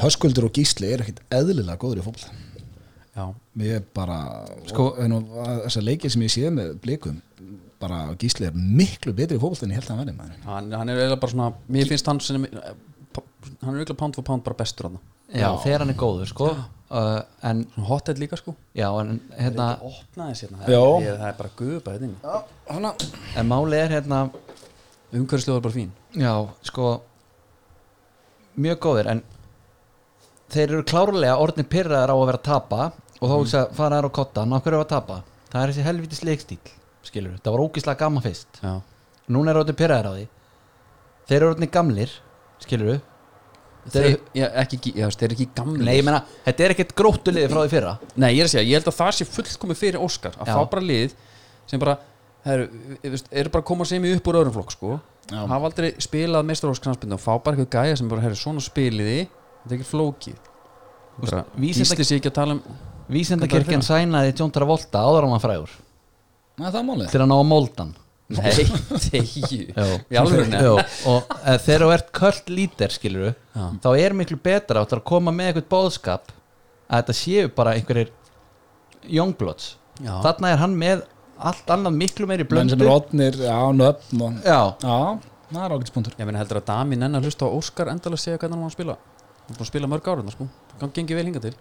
Speaker 3: Höskuldur og Gísli eru ekkit eðlilega góður í fólk
Speaker 1: já,
Speaker 3: Mér er bara, sko, en og þessar leikir sem ég séð með blikum bara Gísli er miklu betri í fólk en ég held að hann verði maður
Speaker 1: hann, hann er eiginlega bara svona mér finnst hann sem hann er eiginlega pound for pound bara bestur hann
Speaker 2: já, þegar hann er góður sko uh, en
Speaker 1: Svona hothead líka sko
Speaker 2: já, en hérna
Speaker 1: Opnaði sérna
Speaker 3: Já.
Speaker 1: Það er- það er bara gupa þetta inn
Speaker 3: Hanna,
Speaker 2: en máli er hérna
Speaker 1: Umhverfislega er bara fín
Speaker 2: já, sko mjög góðir en þeir eru klárlega orðin pyrraðar á að vera að tapa og þá hugsa mm. fara þær á kottan, af hverju að tapa það er þessi helvitis leikstíl, skilur það var ógislega gaman fyrst
Speaker 1: Já,
Speaker 2: núna eru orðin pyrraðar á því þeir eru orðin gamlir, skilur
Speaker 1: þeir, já, ekki, gí- já, þeir eru ekki gamli
Speaker 2: Nei, ég meina, þetta er ekkert gróttuliði frá því fyrra
Speaker 1: Nei, ég er að segja, ég held að það sé fullkomi fyrir Óskar að
Speaker 2: Já.
Speaker 1: fá bara lið sem bara heru, er bara að koma sem í upp úr öðrum flokk sko
Speaker 3: Já.
Speaker 1: hafa aldrei spilað mestur óskarnarspindu og fá bara eitthvað gæja sem bara, herru, svona spiliði þetta er ekki flókið bara,
Speaker 2: vísinda-
Speaker 1: Gísli sé ekki að tala um
Speaker 2: Vísendakirkjan sænaði John Travolta áður á maður frægur
Speaker 3: það er málið
Speaker 2: til að ná að moldan
Speaker 1: Nei, tegju Í alvörunni?
Speaker 2: Jó, og eh, þegar þú ert köld lítir skilur
Speaker 1: Já.
Speaker 2: þá er miklu betra áttu að koma með eitthvað bóðskap að þetta séu bara einhverjir youngbloods
Speaker 1: Já.
Speaker 2: þarna er hann með allt annað miklu meiri
Speaker 3: Menn
Speaker 2: blöndu
Speaker 3: sem er odnir, já, nöfn og,
Speaker 2: Já,
Speaker 3: Já, það er ágætispunktur
Speaker 1: Ég meina heldur að Dami nenni að hlusta á Óskar endalega segja hvernig hann var að spila Hann er búin að spila mörg ára sko Hann gengi vel hinga til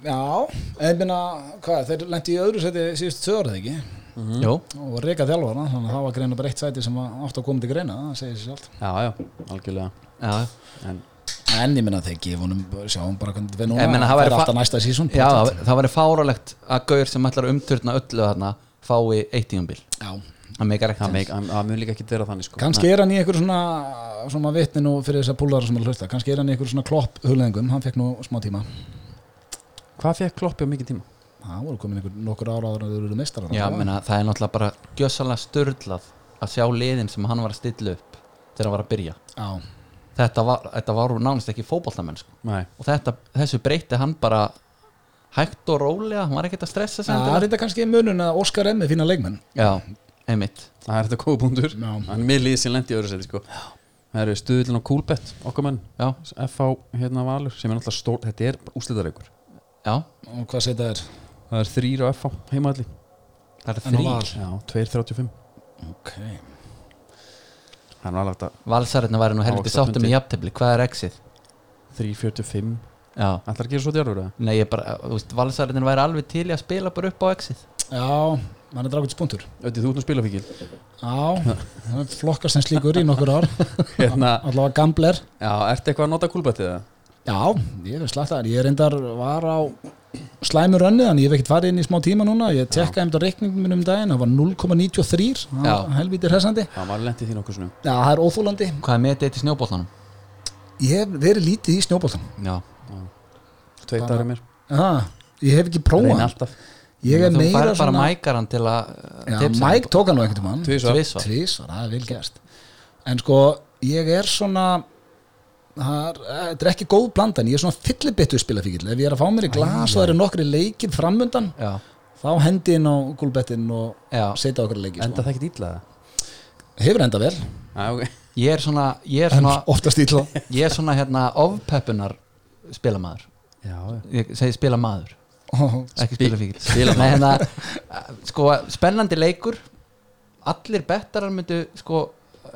Speaker 3: Já, en minna, hvað, þeir lendi í öðru seti síðust sögur það ekki
Speaker 1: Mhm. Mm.
Speaker 2: jú,
Speaker 3: og reyka þjálfara, þannig að það var greina bara eitt sæti sem að- átti að koma til greina, það segir sér allt
Speaker 1: Já, já, algjörlega
Speaker 2: já
Speaker 1: En
Speaker 3: En ég minna þeir gefa honum, sjáum bara hvernig þetta við núna
Speaker 2: Ég meina, það
Speaker 3: Það
Speaker 2: væri
Speaker 3: er
Speaker 2: fa-
Speaker 3: alltaf næsta sísón
Speaker 2: Já, það það væri fáralegt að gaur sem ætlar að umturna öllu þarna fái eitt tíumbil
Speaker 3: já.
Speaker 2: Það meikar ekkert
Speaker 1: það
Speaker 2: sens.
Speaker 1: meik- hann- hann mun líka ekki vera þannig sko
Speaker 3: kannski er hann í einhverjum svona, svona vitni nú fyrir þess að púlara sem er að hlusta kannski er hann í einhverjum svona klopp hulengum hann fekk nú smá tíma
Speaker 1: Hvað fekk Kloppi á mikið tíma?
Speaker 3: það voru komin einhver nokkur ára ára en þau eru meistarar
Speaker 2: Já,
Speaker 3: Það var-
Speaker 2: menna, það er náttúrulega bara gjössalega störlað að sjá liðin sem hann var að stilla upp þegar hann var að byrja
Speaker 3: já,
Speaker 2: þetta var, þetta var nánast ekki fótboltamenn sko.
Speaker 1: Nei
Speaker 2: og þetta, þessu breytti hann bara hægt og rólega, hann var ekkert að stressa sig
Speaker 3: það er
Speaker 2: endilega.
Speaker 3: þetta kannski munun að Óskar Emmi fína leikmenn
Speaker 2: Já, einmitt
Speaker 1: Það er þetta góða punktur
Speaker 3: Já.
Speaker 1: Hann er með lið sem lendi í öðru seti sko Það eru stuðlun og kúlbett okkar menn
Speaker 2: Já,
Speaker 1: FH hérna Valur sem er náttúrulega stór Þetta er úslitareikur
Speaker 2: já,
Speaker 3: og hvað segir það er
Speaker 1: Það er þrýr á FH heimaðli
Speaker 2: það er
Speaker 3: En á
Speaker 2: þrý
Speaker 3: Val.
Speaker 1: Já, 2.35
Speaker 3: ok
Speaker 1: Það er nú alveg að
Speaker 2: Valsarinn væri nú helviti
Speaker 1: Ávaxta
Speaker 2: sáttum
Speaker 1: pundi.
Speaker 2: í jafntefli, hvað er exið?
Speaker 1: 3.45
Speaker 2: Já,
Speaker 1: Ætlar að gera svo djárfur eða?
Speaker 2: nei, ég bara, þú veist, Valsarinn væri alveg til í að spila bara upp á exið
Speaker 3: já, hann er drákvæmt spuntur
Speaker 1: Ötti, þú ert nú spilafíkil
Speaker 3: já, hann flokkast sem slíkur í nokkur ár
Speaker 1: Hérna,
Speaker 3: allavega gambler
Speaker 1: já, ertu eitthvað að nota kúlbettið eða?
Speaker 3: já, ég er slættar ég reyndar var á slæmur önni þannig ég hef ekkert farið inn í smá tíma núna ég tekkaði um þetta reikningum minn um daginn það var 0,93
Speaker 2: Já.
Speaker 3: helvítið hressandi
Speaker 1: Já, maður lendi því nokkuð svona
Speaker 3: Já, það er óþólandi
Speaker 2: Hvað er metið eitt í snjóbóltanum?
Speaker 3: Ég hef verið lítið í snjóboltan
Speaker 2: Já,
Speaker 1: Tveit
Speaker 3: Bara-
Speaker 1: dagar mér
Speaker 3: Ég hef ekki prófað
Speaker 1: Reyna
Speaker 3: hann.
Speaker 1: alltaf
Speaker 3: Ég er
Speaker 2: þú
Speaker 3: meira
Speaker 2: færi bara
Speaker 3: svona
Speaker 2: mækaran til að uh,
Speaker 3: Já, Mike tók hann á einhvern mann
Speaker 1: Tvisvar.
Speaker 2: Tvisvar.
Speaker 3: Tvís, það er vel gert En sko, ég er svona það er- Þetta er ekki góð blandan Ég er svona fyllibittu spilafíkil Ef ég er að fá mér í glas og það eru nokkri leikir framundan
Speaker 2: Já,
Speaker 3: þá hendi inn á gulbettin og
Speaker 2: Já.
Speaker 3: setja okkur að leiki
Speaker 1: Enda
Speaker 3: sko.
Speaker 1: það ekki dýtla það?
Speaker 3: hefur enda vel,
Speaker 1: Já, ok
Speaker 2: ég er svona, ég er
Speaker 3: en
Speaker 2: svona,
Speaker 3: oftast ítla
Speaker 2: ég er svona hérna, ofpeppunar spilamaður
Speaker 1: Já, já
Speaker 2: ég segi spilamaður ekki
Speaker 1: Spi-
Speaker 2: spilafíkil
Speaker 1: spilamaður.
Speaker 2: Nei, hérna, uh, sko, spennandi leikur allir bettarar myndu sko,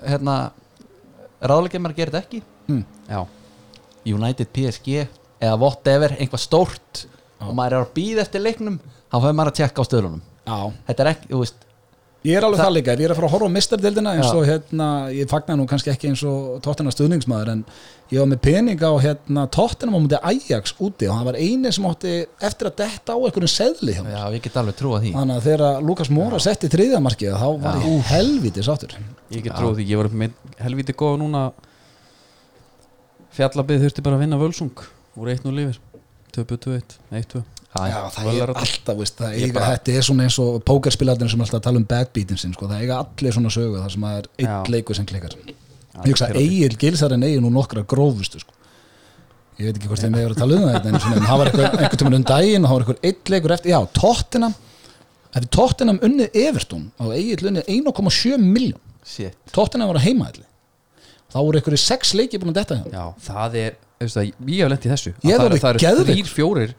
Speaker 2: hérna ráðleikir maður að gera þetta ekki
Speaker 1: Já,
Speaker 2: United PSG eða whatever, einhvað stórt og maður er að býða eftir leiknum þá fæður maður að tjekka á stöðlunum
Speaker 3: já,
Speaker 2: þetta er ekki, þú veist,
Speaker 3: Ég er alveg
Speaker 2: Þa-
Speaker 3: það líka, ég er að fara að horfa á mistardeldina eins
Speaker 2: Já.
Speaker 3: og hérna, ég fagnar nú kannski ekki eins og tóttina stuðningsmaður en ég var með pening á hérna tóttina á múti Ajax úti og það var eini sem átti eftir að detta á einhverjum seðli hjá mér.
Speaker 2: já, ég get alveg trúa því
Speaker 3: Þannig að þegar Lukas Móra setti þriðamarkið þá var ég helviti sáttur.
Speaker 1: ég get tróð því Ég var upp með helvítið góða núna Fjallabið þurfti bara að vinna völsung Úr 1-0 lifir 2-2-1, 1-2
Speaker 3: Já,
Speaker 2: já,
Speaker 3: það
Speaker 1: vel
Speaker 3: er
Speaker 1: er þetta.
Speaker 3: alltaf, veist, það
Speaker 1: Ég
Speaker 3: eiga,
Speaker 1: bara-
Speaker 3: þetta er svona eins og pókerspilarnir sem alltaf tala um badbeatin sinn, sko, það eiga allir svona sögu þar sem það er einn
Speaker 1: Já.
Speaker 3: leikur sem klikkar.
Speaker 1: Já,
Speaker 3: Ég hugsa að Egil Gilsar en Egil nú nokkra grófustu, sko. Ég veit ekki hvort þeim hefur að tala um það, en svona, en það var einhver, einhver tímann um daginn og það var einhver einn leikur eftir, já, Tottenham, ef Tottenham unnið Evertún á Egil unnið 1,7 miljón,
Speaker 2: shit
Speaker 3: Tottenham var að heima allir. Þá voru einhverju sex leiki búin að detta hjá. þeim.
Speaker 1: Já, það er, veistu það, ég hef lent í þessu
Speaker 3: Ég hef
Speaker 1: það, eru-
Speaker 3: orðið
Speaker 1: það eru
Speaker 3: geðveikur.
Speaker 1: þrýr, fjórir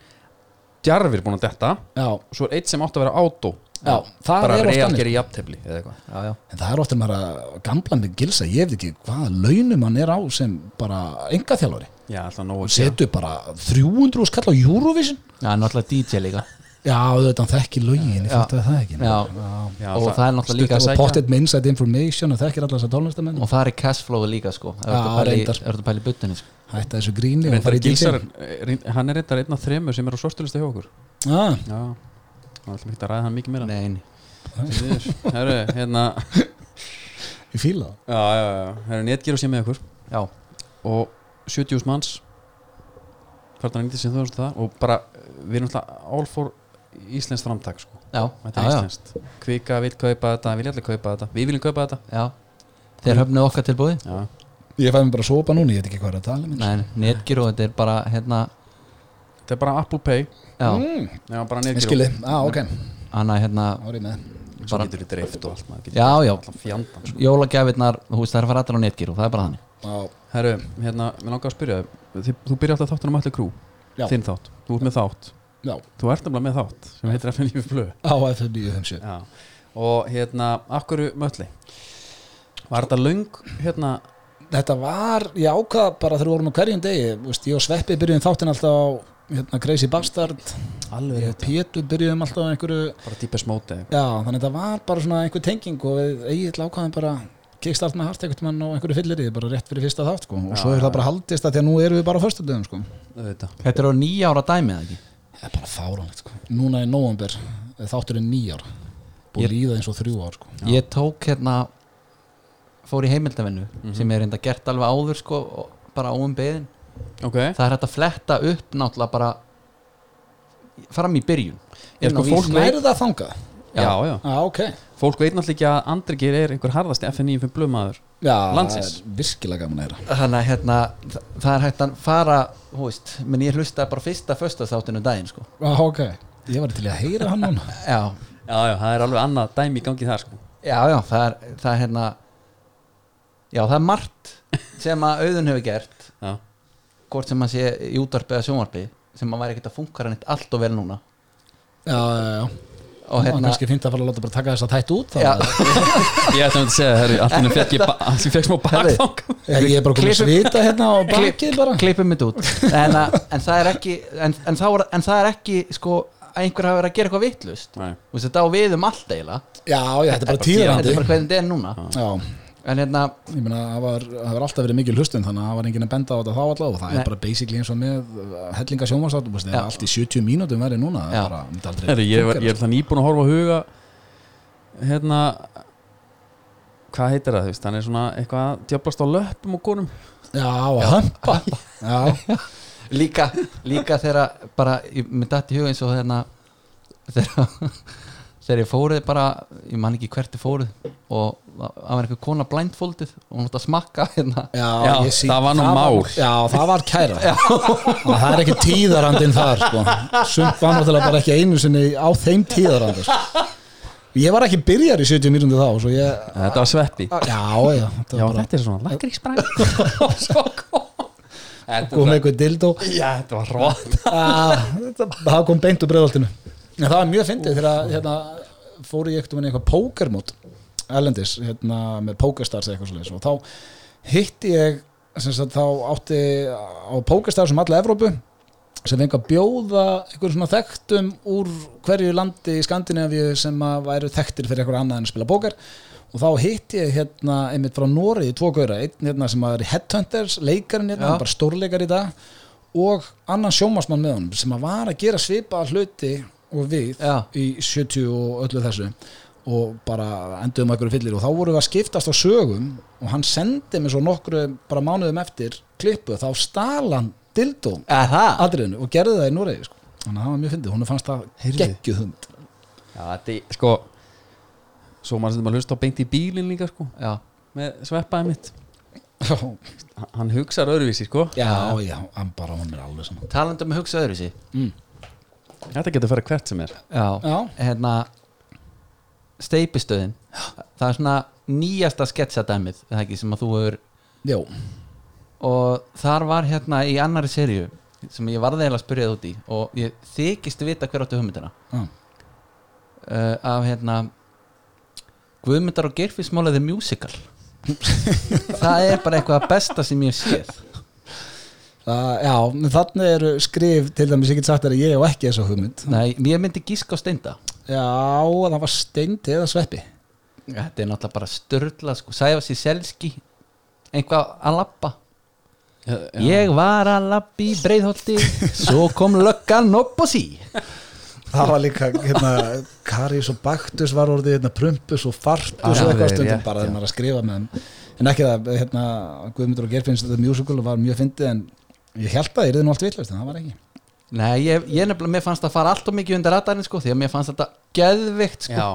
Speaker 1: djarfir búin að detta
Speaker 3: Já,
Speaker 1: og svo er eitt sem átt að vera átó
Speaker 3: Já, það
Speaker 1: bara
Speaker 3: er oft
Speaker 1: reyðar
Speaker 3: þannig.
Speaker 1: gerir jafntefli eða eitthvað
Speaker 2: já, já,
Speaker 3: En það er ofta maður að gamla með gilsa, ég veit ekki hvaða launum hann er á sem bara enga þjálfari.
Speaker 1: Já, alltaf nóg að gera.
Speaker 3: Setu bara 300 skall á Eurovision.
Speaker 2: já, náttúrulega DJ líka
Speaker 3: Já, auðvitað hann þekki lögin, ég
Speaker 2: Já.
Speaker 3: fatt að það ekki.
Speaker 2: já,
Speaker 1: Já,
Speaker 2: og það er náttúrulega líka
Speaker 1: Stutt að
Speaker 3: Og
Speaker 1: sækja.
Speaker 3: potted með inside information og þekkir allar þessar tónlistamenn.
Speaker 2: og það er í cashflow líka, sko ef þú
Speaker 3: Já,
Speaker 2: ert að pæla í-
Speaker 3: reyndar.
Speaker 2: ef þú ert að pæla í butinni, sko
Speaker 3: Hætta þessu gríni og
Speaker 1: Reyndar
Speaker 3: fara í
Speaker 1: Gilsar,
Speaker 3: DJ.
Speaker 1: er- er- hann er reyndar einn af þremur sem er á sortilista hjá okkur
Speaker 3: Ah,
Speaker 1: Já, það er alltaf ekki að ræða hann mikið meira
Speaker 2: nei, nei.
Speaker 1: Því miður. Herru, hérna
Speaker 3: ég fíla það.
Speaker 1: Já, já, já, herru, netgir og sé með okkur
Speaker 2: já,
Speaker 1: og 70 manns hvernig hann nýtti sem þau það og bara, við erum alltaf all for Íslensk framtak, sko
Speaker 2: já,
Speaker 1: Þetta er
Speaker 2: já, já,
Speaker 1: íslenskt Kvika vil kaupa þetta, vilja allir kaupa þetta Við viljum kaupa þetta
Speaker 2: já. þeir höfnuð okkar tilbúði
Speaker 1: Já,
Speaker 3: Ég fæði mig bara að sopa núna, ég veit ekki hvað er að tala um. minn.
Speaker 2: nei, netgir og þetta er bara, hérna
Speaker 1: þetta er bara Apple Pay
Speaker 2: já,
Speaker 3: Mm,
Speaker 1: Já, bara
Speaker 3: ég
Speaker 1: niður
Speaker 3: skilji, á, ok,
Speaker 2: hann að, hérna
Speaker 3: árið með.
Speaker 1: Svo
Speaker 2: bara-
Speaker 1: getur þið dreift og allt maður getur
Speaker 2: já, já,
Speaker 1: Allan fjandann, sko.
Speaker 2: jólagjafirnar, þú veist, það er að fara allir á netgir og það er bara þannig
Speaker 3: Á,
Speaker 1: Herru, hérna, mér langar að spyrja þig Þið- Þú byrjar alltaf þáttunum allir krú
Speaker 3: Já.
Speaker 1: Þinn þátt, þú ert með þátt
Speaker 3: já,
Speaker 1: Þú ert nefnilega með þátt sem heitir FNF Blö
Speaker 3: á FM 957.
Speaker 1: Já Og hérna, akkur mölli Var þetta löng, hérna
Speaker 3: Þetta var, ég ákvað bara þegar við vorum á hverjum degi, þú veist, ég og Sveppi byrjuðum þáttinn alltaf á hérna, Crazy Bastard,
Speaker 1: Alveg
Speaker 3: Ég hérna. og Pétur byrjuðum alltaf á einhverju
Speaker 1: Bara típes móti
Speaker 3: Já, þannig að þetta var bara svona einhver tenging og við eigið ákvaðum bara kickstart með hart einhvern mann og einhverju fyllirið bara rétt fyrir fyrsta þátt sko. og svo er það bara haldist að því að nú erum við bara á föstudöðum sko.
Speaker 1: Þetta
Speaker 2: Þetta er á nýja ára dæmið ekki
Speaker 3: Það er bara fáránlegt sko. Núna í nóvember eh, er þátturinn nýjar búið
Speaker 2: Ég-
Speaker 3: ég... líða eins og þrjú ár sko.
Speaker 2: Ég tók hérna fór í heimildavennu sem er reynda gert alveg áður sko og bara óum beðin
Speaker 1: Ok
Speaker 2: Það er hægt að fletta upp náttúrulega bara fram í byrjun
Speaker 1: Er
Speaker 2: Inn á
Speaker 1: sko fólk
Speaker 2: Vísi.
Speaker 1: veit-
Speaker 3: Nærið það þangað?
Speaker 1: Já, já,
Speaker 3: Já, ok
Speaker 1: Fólk veit náttúrulega ekki að Andri Geir er einhver harðasti FNF Blö maður
Speaker 3: Já,
Speaker 1: Landsins.
Speaker 3: það er virkilega gaman að heyra
Speaker 2: Þannig að hérna þa- það er hægt að fara þú veist, menn ég hlusta bara fyrsta föstasáttinu daginn sko
Speaker 3: Já, Ah, ok Ég var til í að heyra hann núna
Speaker 2: Já,
Speaker 1: Já, já, það er alveg annað dæmi í gangi þar sko
Speaker 2: já, já það er, það er hérna Já, það er margt sem að auðun hefur gert
Speaker 1: Já,
Speaker 2: hvort sem að sé í útvarpi eða sjónvarpi sem að væri ekkert að funka hann eitt allt og vel núna
Speaker 3: Já, já, já
Speaker 2: og
Speaker 3: Það var
Speaker 2: hérna
Speaker 3: kannski fínt að fara að láta bara taka þess að tætt út
Speaker 2: Já.
Speaker 3: þannig að-
Speaker 1: Ég ætti að segja, herri, allt henni fekk ég ba- allt í fekk smá bakþang
Speaker 3: Ég er bara komið
Speaker 2: Klippum-
Speaker 3: svita hérna á bakið bara
Speaker 2: klippum mitt út en, að, en það er ekki en, en, það var, en það er ekki sko að einhver hafa verið að gera eitthvað vittlust
Speaker 1: Nei.
Speaker 2: þetta á við um allt eiginlega
Speaker 3: Já, já, þetta er bara
Speaker 2: þetta
Speaker 3: tíðrandi
Speaker 2: er bara hvernig þetta er núna
Speaker 3: Já,
Speaker 2: en hérna
Speaker 3: Ég meina, það var, það var alltaf verið mikil hlustun þannig að það var enginn að benda á þetta þá allavega og það
Speaker 2: Nei.
Speaker 3: er bara basically eins og með uh, hellinga sjónvarsáttum, það
Speaker 2: Já.
Speaker 3: er allt í 70 mínútum verið núna, það
Speaker 2: Já.
Speaker 3: er bara myndi aldrei
Speaker 1: Herri, ég, var, ég er það nýbúin að horfa á huga hérna hvað heitir það, þú veist, hann er svona eitthvað að djöflast á löppum og konum
Speaker 3: Já, að hömpa Já,
Speaker 2: líka, líka þegar bara ég myndi dætt í huga eins og hérna þegar þegar ég fóruð bara ég man ekki hvert ég fóruð og það var einhver kona blindfoldið og hún átti að smakka hérna
Speaker 3: Já,
Speaker 1: Já,
Speaker 3: ég
Speaker 1: það var nú mál.
Speaker 3: Já, það var kæra Þannig að Það er ekki tíðarandinn þar sko. Sumt var náttúrulega bara ekki einu sinni á þeim tíðarandi sko. Ég var ekki byrjar í 70 mínúti þá svo ég,
Speaker 1: Þetta var sveppi
Speaker 3: Já, já, þetta
Speaker 1: Já,
Speaker 3: var bara
Speaker 1: þetta er svona lakrísbræð Þetta
Speaker 3: Góð með
Speaker 1: var-
Speaker 3: eitthvað dildó
Speaker 1: Já, þetta var rátt
Speaker 3: Ah, þetta- það kom beint úr breiðoltinu en það var mjög fyndið þegar að, hérna, fóru ég ekkert um eitthvað pókermót erlendis, hérna, með pókerstars eitthvað svoleiðis og þá hitti ég sem sagt, þá átti á pókerstars um alla Evrópu sem fengi að bjóða einhverjum svona þekktum úr hverju landi í Skandinavíu sem að væru þekktir fyrir eitthvað annað en að spila póker og þá hitti ég hérna einmitt frá Nóri tvo gauðra, einn hérna sem var í Headhunters leikarinn hérna,
Speaker 2: Já.
Speaker 3: hann er bara stórleikar í dag og annan sjómasmann með honum sem að var að gera svipaða hluti og við
Speaker 2: Já.
Speaker 3: í 70 og öllu þessu og bara enduðum einhverju fyllir og þá vorum við að skiptast á sögum og hann sendi mér svo nokkru bara mánuðum eftir klippu þá stal hann dildum
Speaker 2: Er það?
Speaker 3: atriðinu og gerði það í Noregi sko. þannig að það var mjög fyndið, hún fannst það
Speaker 1: Heyrðu.
Speaker 3: geggjuð hund
Speaker 1: Já, þetta er sko Svo maður sem að hlusta á beint í bílinn líka sko
Speaker 2: Já,
Speaker 1: Með sveppaði mitt
Speaker 3: já,
Speaker 1: H- Hann hugsar öðruvísi sko
Speaker 3: já, Mm. hann bara hún er alveg saman
Speaker 2: talandi um að hugsa öðru sér
Speaker 1: Þetta getur að fara hvert sem er
Speaker 2: Já,
Speaker 3: Já.
Speaker 2: hérna steipistöðin það er svona nýjasta sketsadæmið er það ekki, sem að þú hefur
Speaker 3: já,
Speaker 2: og þar var hérna í annari serju sem ég varði eiginlega að spyrja það út í og ég þykist vita hver áttu hugmyndina
Speaker 3: já,
Speaker 2: uh, af hérna Guðmyndar og Geirfismálaði musical það er bara eitthvað að besta sem ég séð
Speaker 3: Það- já menn þannig eru skrif til dæmis ég get sagt þér að ég og ekki þessu hugmynd
Speaker 2: Nei, ég myndi gíska á steinda
Speaker 3: Já, það var steindi eða sveppi
Speaker 2: þetta er náttúrulega bara störla sko. Sæfa sér selski eitthvað að lappa Ég var að lappi í breiðholti Svo kom löggan upp á sí
Speaker 3: Það var líka, hérna, Karis og Baktus var orðið, hérna, Prumpus og Fartus
Speaker 1: Já,
Speaker 3: og eitthvað
Speaker 1: þeir,
Speaker 3: stundum
Speaker 1: rétt, já.
Speaker 3: bara þegar maður er að skrifa með þeim En ekki það, hérna, Guðmundur og Gerfinns þetta musical var mjög fyndið en ég held að ég er nú allt villast en það var ekki
Speaker 2: Nei, ég, ég nefnilega, mér fannst það fara allt og mikið undir ratarinn sko Því að mér fannst þetta geðvikt sko
Speaker 1: Já.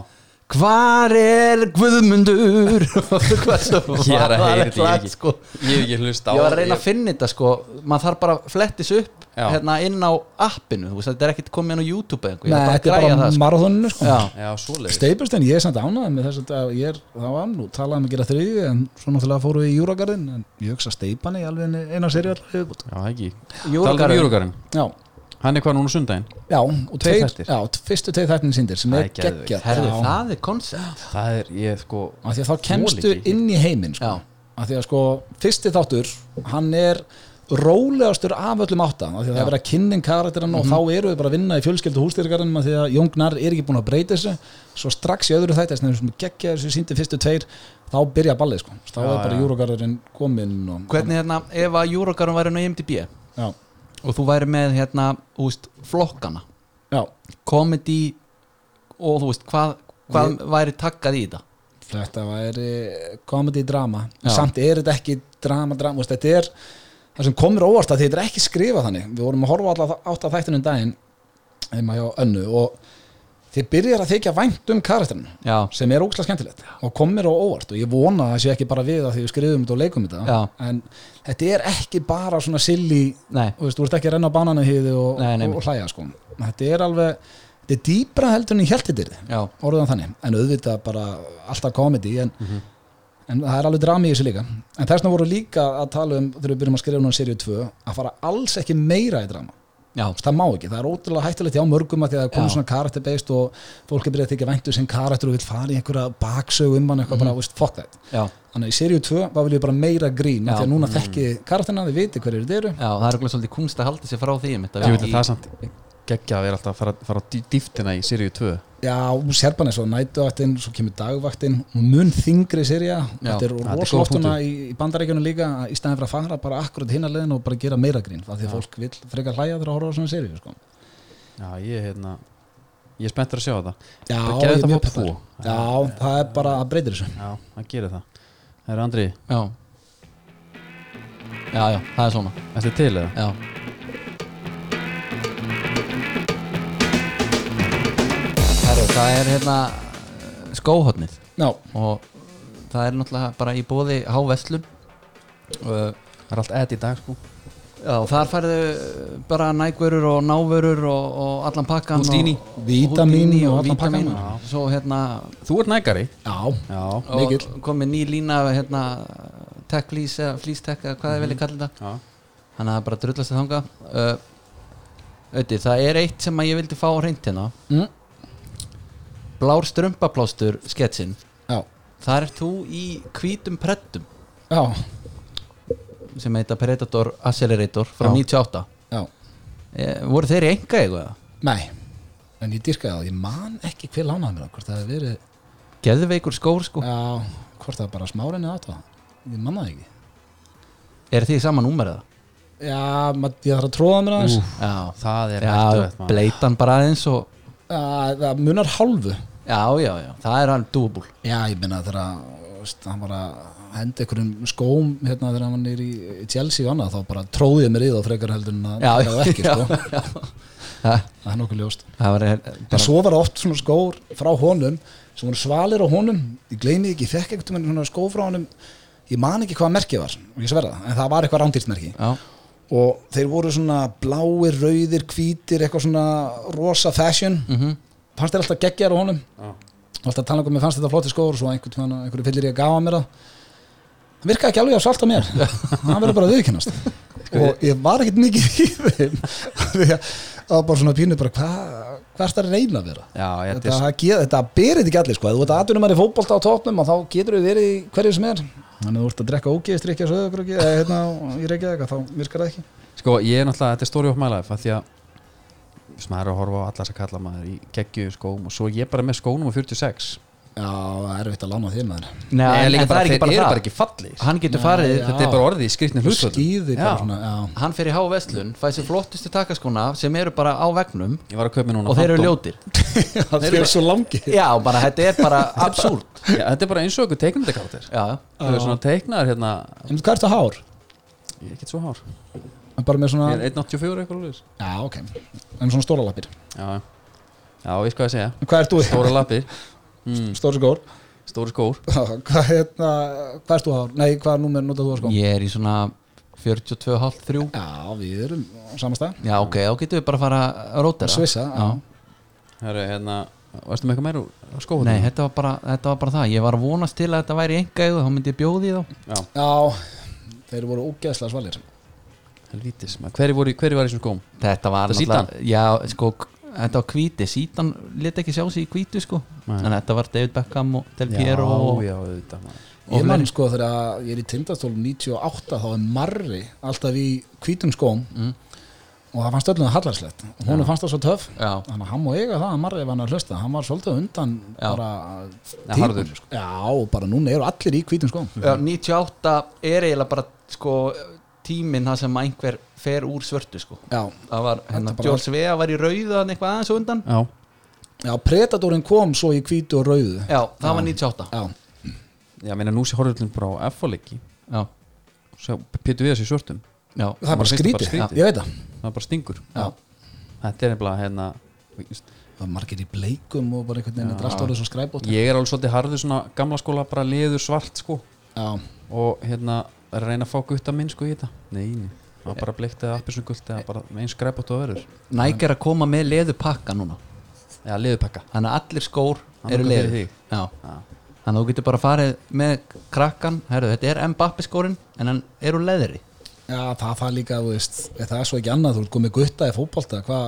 Speaker 2: Hvar er Guðmundur? Hvað svo
Speaker 1: Ég er að heyra þetta
Speaker 2: var
Speaker 1: ég,
Speaker 2: sko.
Speaker 1: ekki- ég hef ekki hlusta á
Speaker 2: Ég var að reyna að
Speaker 1: þetta,
Speaker 2: finna þetta sko Maður þarf bara að flettis upp
Speaker 1: Já.
Speaker 2: hérna inn á appinu Þú veist, þetta er ekkert komið inn á YouTube eða eitthvað
Speaker 3: Nei,
Speaker 2: Ég er
Speaker 3: þetta
Speaker 2: bara að
Speaker 3: er
Speaker 2: græja
Speaker 3: bara
Speaker 2: það sko
Speaker 3: marathoninu, sko
Speaker 2: Já,
Speaker 1: ég- Já, svoleiðis
Speaker 3: Steipurstein, ég er samt ánæðið með þess að ég er, það var nú, talaði um að gera þriði en svo náttúrulega fóru við í júragarðin en ég hugsa steipan í alveg eina seri allar viðbútt.
Speaker 1: Já, ekki
Speaker 2: Júrógarinn.
Speaker 1: Júrugarinn
Speaker 3: Já,
Speaker 1: Hann er hvað núna á sundaginn
Speaker 3: já, og
Speaker 1: Tveir
Speaker 3: tveir,
Speaker 1: þættir.
Speaker 3: já, fyrstu tveir þættin síndir sem
Speaker 1: Æ,
Speaker 3: er
Speaker 1: geðveikt.
Speaker 3: geggjað.
Speaker 2: herðu,
Speaker 3: Já.
Speaker 2: það er koncept
Speaker 1: Það er, ég sko
Speaker 3: af því að þá kemstu
Speaker 1: Þoli ekki.
Speaker 3: inn í heiminn sko. af því að sko, fyrsti þáttur hann er rólegastur af öllum áttan, af því að það er verið að kynning karakterinn
Speaker 1: Mhm.
Speaker 3: og þá eru við bara að vinna í fjölskeldu hústyrkarinnum af því að Jóngnar er ekki búin að breyta þessu svo strax í öðru þætti þess að geggja þessu síndi fyrstu tveir, þá byrja ballið sko. þá
Speaker 1: Já,
Speaker 3: er bara
Speaker 1: já.
Speaker 3: júrogarðurinn kominn og,
Speaker 2: Hvernig hérna, ef að Júrógarinn væri nú IMDb
Speaker 3: já,
Speaker 2: Og þú væri með hérna, úst, flokkana
Speaker 3: já,
Speaker 2: komedi og þú veist hvað, hvað væri takkað í þetta
Speaker 3: þetta væri komedi drama,
Speaker 2: Já.
Speaker 3: samt er þetta ekki drama, drama, þú veist, þetta er það sem komur óvart að þetta er ekki skrifað þannig við vorum að horfa alltaf átt að þættunum um daginn heima hjá önnu og þið byrjar að þykja vænt um karakterinu
Speaker 2: já,
Speaker 3: sem er ógslag skemmtilegt og komir á óvart og ég vona að það sé ekki bara við að því við skrifum þetta og leikum þetta
Speaker 2: Já.
Speaker 3: en þetta er ekki bara svona silly
Speaker 2: nei,
Speaker 3: þú veist, þú ert ekki að renna á banana hýði og,
Speaker 2: Nei, nei,
Speaker 3: og, og hlæja sko þetta er alveg, þetta er dýpra heldur en ég held þetta er
Speaker 2: já
Speaker 3: orðan þannig, en auðvitað bara alltaf komedi en, en það er alveg drami í þessu líka en þessna voru líka að tala um þegar við byrjum að skrifa núna serið 2 að fara alls ekki meira í drama
Speaker 2: já,
Speaker 3: Þú veist, það má ekki, það er ótrúlega hættilegt hjá mörgum að því að það komið
Speaker 2: Já.
Speaker 3: svona karakterbeist og fólk er byrjað að þykja væntu sem karakter og vil fara í einhverja baksögu um hann eitthvað
Speaker 2: Mhm.
Speaker 3: bara, veist, fuck that
Speaker 2: já,
Speaker 3: þannig að í serið 2 var viljum bara meira grín
Speaker 2: Já. Mhm.
Speaker 3: af því að núna þekki karakterna, þið viti hverju þeir eru
Speaker 2: já, það er okkur svolítið kunst að halda sér frá því mitt,
Speaker 1: Ég veit að það er samt geggja að vera alltaf að fara, fara á dý- dýftina í Siriu 2
Speaker 3: Já, Serban er svo nætuvaktinn, svo kemur dagvaktinn og mun þingri sérja
Speaker 2: Já,
Speaker 3: þetta er
Speaker 1: þetta er góð
Speaker 3: rosalóftuna í, í bandarækjunum líka að í staðin fyrir að fara bara akkurat hinna leðin og bara gera meira grín af því að fólk vil frekar hlæja þegar að horfa á svona sérju sko.
Speaker 1: Já, ég, hérna Ég er spenntur að sjá þetta
Speaker 3: Já,
Speaker 1: Bara
Speaker 3: ég
Speaker 1: geðu
Speaker 3: er
Speaker 1: þetta
Speaker 3: mjög
Speaker 1: fá
Speaker 3: peppaður.
Speaker 1: tvo.
Speaker 3: Já, það er bara að breyta þessu
Speaker 1: Já, það gerir það Það eru Andri,
Speaker 2: já já, já, það er svona
Speaker 1: ertu til eða?
Speaker 2: já, Heru, það er hérna skóhotnið
Speaker 3: Já,
Speaker 2: og það er náttúrulega bara í bóði háveslun uh,
Speaker 1: Það er allt edd í dag sko
Speaker 2: já, og þar færðu bara nægverur og návörur og, og allan pakkan
Speaker 1: Houdini.
Speaker 2: og,
Speaker 3: Vítamín
Speaker 2: Houdini
Speaker 3: og
Speaker 2: og
Speaker 3: allan
Speaker 2: vítamín
Speaker 3: pakkan.
Speaker 2: svo hérna
Speaker 1: Þú ert nægari
Speaker 3: Já,
Speaker 1: Já,
Speaker 3: Mikill.
Speaker 2: og komið ný lína hérna, tech fleece eða fleece tech eða hvað þið
Speaker 3: Mhm.
Speaker 2: vilja kalla þetta
Speaker 1: já.
Speaker 2: þannig að það bara drullast þið þanga uh, auðvitað, það er eitt sem að ég vildi fá á reynd hérna
Speaker 3: mm.
Speaker 2: blár strömpaplástur sketsin
Speaker 3: já,
Speaker 2: þar er þú í hvítum preddum
Speaker 3: já,
Speaker 2: sem heita Predator Accelerator frá
Speaker 3: Já.
Speaker 2: 98
Speaker 3: já
Speaker 2: eh, voru þeir í enga eitthvað?
Speaker 3: Nei, en ég dýrkaði það Ég man ekki hver lánaði mér það, hvort það hefði verið
Speaker 2: Geðveikur skór sko,
Speaker 3: Já, hvort það var bara smárinni eða það Ég man það ekki
Speaker 2: er þið saman úmeriða?
Speaker 3: Já, ma- ég þarf að tróða mér aðeins
Speaker 2: Já,
Speaker 1: Það er
Speaker 2: já
Speaker 1: hættulegt, maður.
Speaker 2: bleitan bara aðeins og
Speaker 3: Já, það munar hálfu
Speaker 2: já, já, já, það er hann dúbul
Speaker 3: Já, ég minna þegar að, veist, hann var að henda einhverjum skóm hérna þegar hann var nýr í í Chelsea og annað þá bara tróði ég mér í þá frekar heldur en að
Speaker 2: Já,
Speaker 3: það var ekki, sko,
Speaker 2: já, já.
Speaker 3: það er nokkuð ljóst
Speaker 2: Það var
Speaker 3: En svo var oft svona skór frá honum sem voru svalir á honum ég gleymi ekki, ég fekk einhvern veginn svona skó frá honum ég man ekki hvað merkið var og ég sverða, en það var eitthvað rándýrtmerki
Speaker 2: já,
Speaker 3: og þeir voru svona bláir, rauðir, hvítir eitthvað svona rosa fashion fannst þér alltaf geggjar á honum
Speaker 1: Já.
Speaker 3: alltaf tala um að mér fannst þetta flotti skór og svo einhvern veginn einhverju fyllir ég að gafa mér það það virkaði ekki alveg að salta mér það verður bara að viðkennast og ég var ekkert mikið í þeim því að það var bara svona pínu bara hvað hva er það að reyna að vera
Speaker 1: Já, þetta
Speaker 3: þetta,
Speaker 1: er
Speaker 3: það ge- þetta berir ekki allir sko ef þú ert aðdunum að er fótbolta á topnum og þá getur við verið í hverju sem er þannig að þú ert að drekka ógeðist reykja svo öðru eða hérna á- í reykja eitthvað þá virkar það ekki
Speaker 1: Sko, ég er náttúrulega, þetta er stóri uppmælaðið Því að viss, maður er að horfa á alla þess að kalla maður í geggju skóm og svo er ég bara með skónum á 46
Speaker 3: já, það er erfitt að lána þér maður
Speaker 2: Nei,
Speaker 1: Nei,
Speaker 2: en,
Speaker 1: líka
Speaker 2: en það er ekki
Speaker 1: þeir
Speaker 2: bara
Speaker 1: eru
Speaker 2: það
Speaker 1: bara ekki fallir
Speaker 2: Hann getur
Speaker 3: Nei,
Speaker 2: farið
Speaker 3: já.
Speaker 1: Þetta er bara orðið í skrittni
Speaker 3: þú
Speaker 1: hlutvöldum
Speaker 3: skýði bara
Speaker 1: Já.
Speaker 3: svona já.
Speaker 2: Hann fer í háveslun, fæði sér flottustu takaskóna sem eru bara á vegnum
Speaker 1: Ég var að kaupa mér núna
Speaker 2: og þeir eru
Speaker 1: Phantom.
Speaker 2: ljótir
Speaker 3: það er svo langi
Speaker 2: Já, bara þetta er bara absúrt
Speaker 1: Já, Þetta er bara eins og ykkur teiknumdekartir
Speaker 2: Já,
Speaker 1: Þau eru svona teiknaðar hérna
Speaker 3: en hvað ertu hár?
Speaker 1: Ég er ekki svo hár
Speaker 3: En bara með
Speaker 1: Ég er
Speaker 3: svona,
Speaker 1: 1.84 eitthvað lúðis
Speaker 3: já, ok en svona stóra lappir
Speaker 1: Já, já, ég skal að segja
Speaker 3: en hvað ert þú?
Speaker 1: Stóra lappir,
Speaker 3: stóra skór
Speaker 1: stóri skór
Speaker 3: hvað, hérna, hvað ert þú hár? nei, hvað númer notað þú að skór?
Speaker 2: ég er í svona 42,5-3
Speaker 3: já, við erum á sama stað
Speaker 2: Já, ok, þá getum við bara að fara að rótera
Speaker 3: Svissa, já.
Speaker 1: Herru, hérna, varstu með eitthvað meira úr skóðum?
Speaker 2: Nei, þetta var, bara, þetta var bara það Ég var að vonast til að þetta væri enga eða þá myndi ég bjóði þá
Speaker 1: Já,
Speaker 3: já, þeir voru ógeðslega svalir
Speaker 1: helvítis maður. Hverju voru, hverju var í þessum skóm?
Speaker 2: Þetta var
Speaker 1: Þetta Zidane?
Speaker 2: náttúrulega- Já, sko, þetta var hvíti Sítan let ekki sjá sig í hvítu, sko
Speaker 1: Nei.
Speaker 2: En þetta var David Beckham og Del Piero og,
Speaker 1: Já, já, auðvitað maður.
Speaker 3: Ég
Speaker 2: Og
Speaker 3: man
Speaker 2: fleiri.
Speaker 3: sko þegar að ég er í tindastólum 98 þá er Marri alltaf í hvítum skóm og það fannst öllum það hallarslegt og hún fannst það svo töff
Speaker 2: Já.
Speaker 3: þannig að hann má eiga það að Marri var hann að hlusta hann var svolítið undan
Speaker 2: Já.
Speaker 3: bara
Speaker 1: Nei,
Speaker 3: típunni,
Speaker 1: harður.
Speaker 3: sko. Já, og bara núna eru allir í hvítum skóm
Speaker 2: Já, 98 er eiginlega bara sko, tíminn það sem einhver fer úr svörtu sko.
Speaker 3: Já,
Speaker 2: það var, hérna,
Speaker 3: Þetta bara-
Speaker 2: George Vea var í rauðu þannig eitthvað aðeins á undan
Speaker 1: Já,
Speaker 3: Já Predatorin kom svo í hvítu og rauðu
Speaker 2: já, það var 98
Speaker 3: Já,
Speaker 1: já, meina nú sé horfðurlun bara á F-leiki
Speaker 2: já,
Speaker 1: Pétur við þessi svörtum
Speaker 2: já,
Speaker 3: það er
Speaker 1: Maður finnst það
Speaker 3: bara
Speaker 1: bara
Speaker 3: skrítið,
Speaker 1: skrítið.
Speaker 3: ég veit það
Speaker 1: Það er bara stingur
Speaker 2: já.
Speaker 1: Þetta er nefnilega hérna
Speaker 3: Það var margir í bleikum og bara einhvern veginn þetta er allt orðið svo skræbótt
Speaker 1: Ég er alveg svolítið harður svona gamla skóla bara liður svart sko
Speaker 3: Já,
Speaker 1: og hérna er að reyna að fá gutta minn sko í þetta Nei, nei, það er bara bleikt eða appisum gult eða bara eins skræp áttu að verður
Speaker 2: Nike er að koma með leðu pakka núna
Speaker 1: eða liðupakka
Speaker 2: þannig að allir skór
Speaker 1: Hann
Speaker 2: eru
Speaker 1: notar fyrir
Speaker 2: leðu
Speaker 1: þig.
Speaker 2: já.
Speaker 1: Já.
Speaker 2: þannig að þú getur bara farið með krakkan Herru, þetta er Mbappi skórin en hann er úr leðri
Speaker 3: Já, það það líka, þú veist, ef það er svo ekki annað, þú ert komið gutta í fótbolta, hvað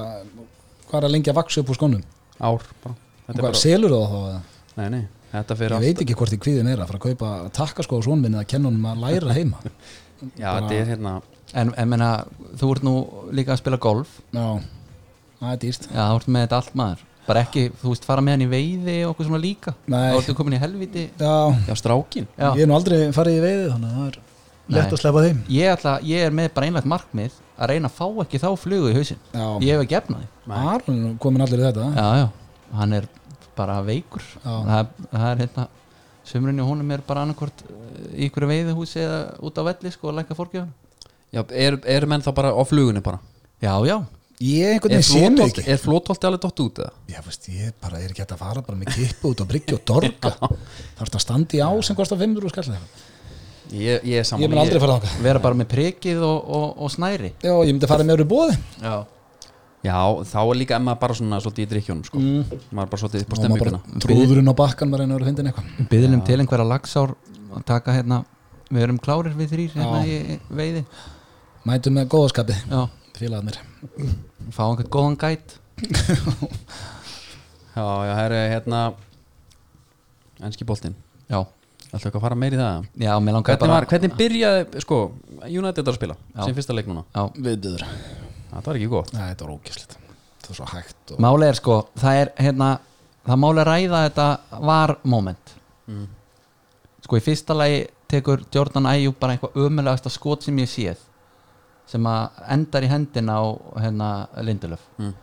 Speaker 3: hva er að lengja vaksa upp úr skónum?
Speaker 1: Ár bara
Speaker 3: Og
Speaker 1: Þetta er
Speaker 3: hvað,
Speaker 1: bara,
Speaker 3: selur það þá? eða?
Speaker 1: nei, nei, þetta
Speaker 3: Ég
Speaker 1: fyrir
Speaker 3: veit ekki hvort ég kvíði meira fyrir að kaupa takkaskó á svonminni að kenna honum að læra heima
Speaker 1: Já, þetta er hérna
Speaker 2: en, en menna, þú ert nú líka að spila golf
Speaker 3: Já, það er dýrt
Speaker 2: Já, þú ert með þetta allt maður Bara ekki, þú veist, fara með hann í veiði og okkur svona líka
Speaker 3: Nei.
Speaker 2: Þá ertu komin í helviti
Speaker 3: Já,
Speaker 1: Já, strákin
Speaker 2: Já.
Speaker 3: ég er nú aldrei farið í veiði þannig að það er lett
Speaker 2: Nei.
Speaker 3: að sleppa þeim
Speaker 2: Ég, ætla, ég er með bara einlægt markmið að reyna að fá ekki þá flugu í hausinn
Speaker 3: Já.
Speaker 2: Ég hef ekki efnaði
Speaker 3: Aron er nú komin allir í þetta
Speaker 2: Já, já, hann er bara veikur það, það er hérna Sumrunni og honum er bara annarkvort eh, í ykkur veiðihúsi eða út á velli sko að lækka fórgjöfum
Speaker 1: Já, eru er menn þá bara á flugunni bara
Speaker 2: Já, já,
Speaker 3: ég einhvern
Speaker 1: Er
Speaker 3: veginn sé mig
Speaker 1: flótholt-
Speaker 3: ekki
Speaker 1: er flótholti alveg dott út eða?
Speaker 3: ég, veist, ég bara er ekki hægt að fara bara með kippu út á bryggju og dorga þarf að standa í á sem kostar 500 skall eða eitthvað.
Speaker 1: Ég, ég er saman
Speaker 3: ég mun aldrei fara þáka
Speaker 2: vera bara með prikið og, og, og snæri
Speaker 3: já, ég myndi fara með öru bóði
Speaker 2: já,
Speaker 1: Já, þá er líka emma bara svona svolítið í drikkjónum sko. maður bara svolítið upp á
Speaker 3: og Mm. maður
Speaker 1: stemminguna
Speaker 3: bara trúðurinn á bakkan maður reynir að finna eitthvað
Speaker 2: byðlum til einhverja lagsár að taka hérna, við erum klárir við þrýr hérna í veiði
Speaker 3: mætum með góðaskapi
Speaker 2: já,
Speaker 3: félagarnir
Speaker 2: fá einhvern góðan gæt
Speaker 1: Já, já, það er hérna enski boltinn
Speaker 2: já,
Speaker 1: Ætlaðu ekki að fara meir í það?
Speaker 2: já, mér langar
Speaker 1: Hvernig,
Speaker 2: bara
Speaker 1: var, hvernig byrjaði, sko, United að spila
Speaker 2: Já.
Speaker 1: sem fyrsta leik núna?
Speaker 2: já.
Speaker 3: viðbjöður
Speaker 1: Það var ekki gott
Speaker 3: þetta var ógæslegt það var svo hægt og...
Speaker 2: máli er sko, það er hérna það máli er ræða þetta var moment sko í fyrsta lagi tekur Jordan Ayub bara eitthvað ömulegasta skot sem ég séð sem að endar í hendin á hérna Lindelöf
Speaker 1: Mm.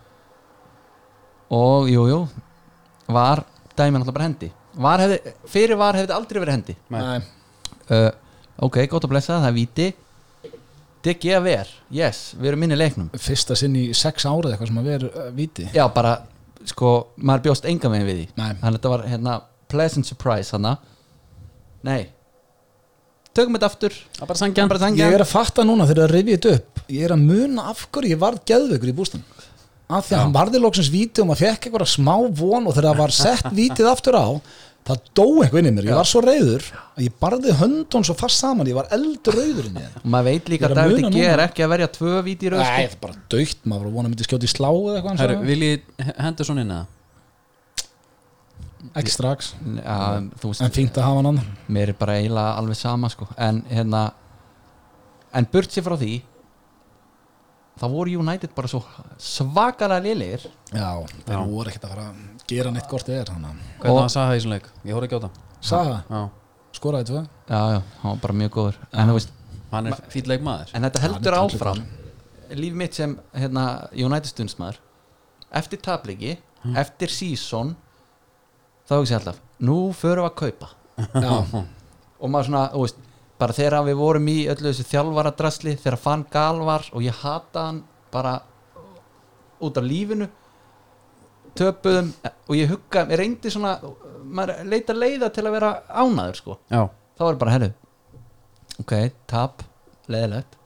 Speaker 2: og jú, jú var dæmi náttúrulega bara hendi var hefði, fyrir var hefði þetta aldrei verið hendi
Speaker 3: Nei.
Speaker 2: uh, ok, gott að blessa, það er viti Diggi að ver, yes við erum minni leiknum
Speaker 3: fyrsta sinn í sex árið eitthvað sem að vera uh, viti
Speaker 2: já, bara, sko, maður bjóst enga megin við því
Speaker 3: Nei.
Speaker 2: þannig að þetta var hérna pleasant surprise hana nei tökum þetta aftur
Speaker 1: Það er bara sangjan
Speaker 2: bara
Speaker 3: ég
Speaker 2: þangja
Speaker 3: er að fatta núna þegar það rifið þetta upp ég er að muna af hverju ég varð geðveikur í bústan af því að hann varði loksins víti og maður fekk eitthvað smá von og þegar það var sett vítið aftur á það dó eitthvað inn í mér, ég var svo reyður að ég barði höndun svo fast saman ég var eldur reyður inn í það
Speaker 2: og maður veit líka
Speaker 3: Ég er
Speaker 2: að
Speaker 3: að
Speaker 2: David
Speaker 3: muna
Speaker 2: Diggi
Speaker 3: núna.
Speaker 2: er ekki að verja tvö víti í röð
Speaker 3: Nei,
Speaker 2: sko.
Speaker 3: það er bara daukt, maður var að vona að myndi skjóti í slá eða eitthvað hann sko.
Speaker 1: Herru,
Speaker 3: sagði.
Speaker 1: viljið hendur svona inn eða?
Speaker 3: ekki strax,
Speaker 2: Já, þú
Speaker 3: en
Speaker 2: veist,
Speaker 3: fínt að hafa hann annan
Speaker 2: mér er bara eiginlega alveg sama sko. en hérna en burt sér frá því þá voru United bara svo svakalega lélegir
Speaker 3: Já, þeir voru ekkert að fara að gera neitt gort eða
Speaker 1: Hvernig
Speaker 2: Og-
Speaker 1: var Saha í svona leik? Ég horf ekki á það
Speaker 3: Saga,
Speaker 1: Já,
Speaker 3: skoraði tvö
Speaker 2: já, já, hann var bara mjög góður en, þú veist,
Speaker 1: hann er fýll leik maður
Speaker 2: en þetta heldur áfram líf mitt sem hérna, United stundsmaður eftir tabliki, eftir season þá ekki sér alltaf nú förum við að kaupa
Speaker 3: Já,
Speaker 2: og maður svona, þú veist, bara þegar við vorum í öllu þessu þjálfaradrasli þegar fann gal var og ég hata hann bara út af lífinu töpuðum eh, og ég hugga, ég reyndi svona maður leita leiða til að vera ánæður sko,
Speaker 1: Já,
Speaker 2: þá var bara herru ok, tap, leðilegt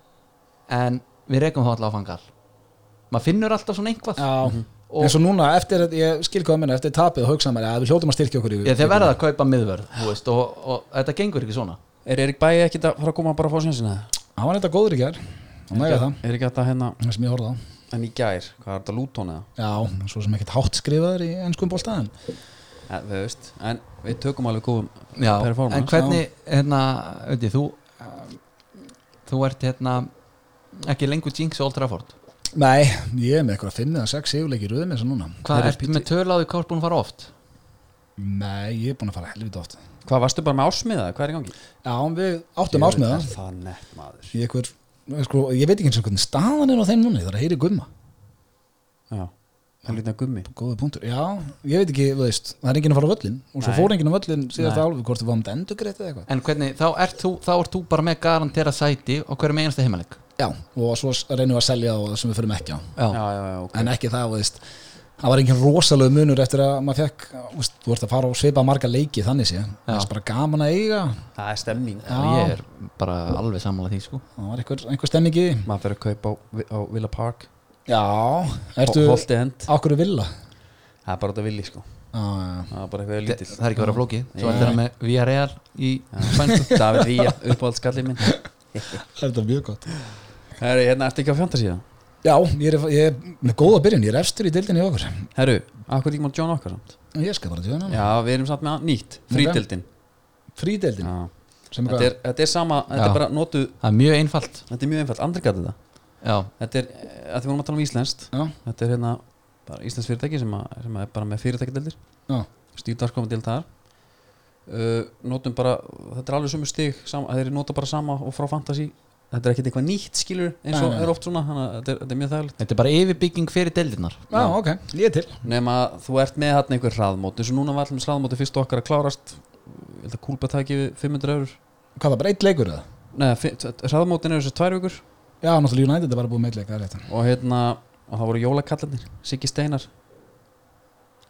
Speaker 2: en við reykum þá alltaf að fann gal maður finnur alltaf svona einhvað
Speaker 3: já
Speaker 2: Og-
Speaker 3: eins og núna, eftir, ég skil hvað að minna, eftir tapið og hugsaði mér að við hljótum að styrkja okkur í
Speaker 2: ég, þeir verða að kaupa miðvörð þú veist, og, og þetta gengur ekki svona
Speaker 1: er Erik Bæi ekkit að fara að koma bara að fá sjansina?
Speaker 3: hann var eitthvað góður í gær hann nægja það,
Speaker 1: Er ekki þetta hérna,
Speaker 3: það sem ég horfði á
Speaker 1: en í gær, hvað er þetta Lúton eða?
Speaker 3: já, svo sem ekkert hátt skrifaður í ennskum bóltaðin
Speaker 1: Eh, Þú veist, en við tökum alveg góðum
Speaker 2: Já,
Speaker 1: performance
Speaker 2: en hvernig hérna, veitir, þú um, þú ert hérna ekki lengur Jinx og Old Trafford
Speaker 3: nei, ég er með eitthvað að finna það sex yfirleiki röðum eins og núna
Speaker 2: hvað ertu með tölaðu hvað er búin að fara oft
Speaker 3: nei, ég er búin að fara helvita oft
Speaker 1: Hvað varstu bara með ásmiða? Hvað er í gangi?
Speaker 3: já, við áttum ásmiða
Speaker 1: Er Það nett maður
Speaker 3: ég, einhver, sko, ég veit ekki eins og hvernig staðan er á þeim núna ég þarf að heyri gumma,
Speaker 1: Já, helvita gummi
Speaker 3: góða punktur já, ég veit ekki, þú veist, það er enginn að fara á völlin og svo
Speaker 1: Nei.
Speaker 3: fór enginn á völlin síðast
Speaker 1: Nei.
Speaker 3: alveg hvort það var um endugreitt eða eitthvað
Speaker 2: en hvernig, þá ert þú, þá ert þú bara með garantera sæti og hverjum einasta heimaleg
Speaker 3: já, og svo s- reynum við að selja og það sem við förum ekki á
Speaker 1: Já,
Speaker 2: já,
Speaker 1: já, já, ok
Speaker 3: en ekki það, þú veist það var engin rosalegu munur eftir að maður fekk þú veist, þú ert að fara og svipa marga leiki þannig sé, það er bara gaman að eiga
Speaker 1: Það er stemning
Speaker 2: ég er bara alveg sammála því sko
Speaker 3: það var einhver, einhver stemmingi
Speaker 1: Maður fyrir að kaupa á, á Villa Park
Speaker 3: já, ertu
Speaker 1: Holti end
Speaker 3: á hverju villa
Speaker 1: Það er bara þetta villi sko
Speaker 3: já,
Speaker 1: Það er bara eitthvað
Speaker 2: Þe,
Speaker 1: lítill
Speaker 2: það er ekki að vera flókið, svo
Speaker 1: Nei.
Speaker 2: ert það með VRL í spænsku
Speaker 1: David Vía, uppáhaldskallið minn
Speaker 3: það er þetta mjög gott
Speaker 1: Herru, hérna ertu ekki á fantasíða
Speaker 3: já, ég er, ég er með góða byrjun, ég er efstur í dildinni í okkur
Speaker 1: Herru, akkur ekki má John okkar samt
Speaker 3: ég skal bara tjóna
Speaker 1: Já, við erum samt með nýtt, frítildin
Speaker 3: frídeldin,
Speaker 1: Já.
Speaker 3: sem
Speaker 1: þetta,
Speaker 3: er
Speaker 1: er, þetta er sama, þetta
Speaker 2: Já.
Speaker 1: er bara notu
Speaker 2: það er mjög einfalt
Speaker 1: Þetta er mjög einfalt, andri gæti þetta
Speaker 2: já,
Speaker 1: Þetta er, eh, að því vorum að tala um íslenskt
Speaker 3: hvað já,
Speaker 1: Þetta er hérna, bara íslenskt fyrirtæki sem, að, sem að er bara með fyrirtækjadeldir
Speaker 3: já,
Speaker 1: stýrdarskomi til þar uh, notum bara, þetta er alveg sömu stig sam, þeir nota bara sama og frá fantasy þetta er ekkert eitthvað nýtt skilur eins og
Speaker 3: Nei, nei.
Speaker 1: er oft svona, þannig að þetta er, þetta er mjög þægilegt
Speaker 2: þetta er bara yfirbygging fyrir deildirnar
Speaker 3: já, ok, ég er til
Speaker 1: nema að þú ert með hann einhver hraðmót eins og núna var allir með hraðmóti fyrst okkar að klárast ég held að kúlpa tæki við 500 eurur
Speaker 3: hvað það bara eitt leikur eða?
Speaker 1: Nei, hraðmótin eru þessu tvær vikur
Speaker 3: já, náttúrulega United er bara búið með eitt leik, það er rétt
Speaker 1: og hérna og það voru jólakallarnir, Siggi Steinar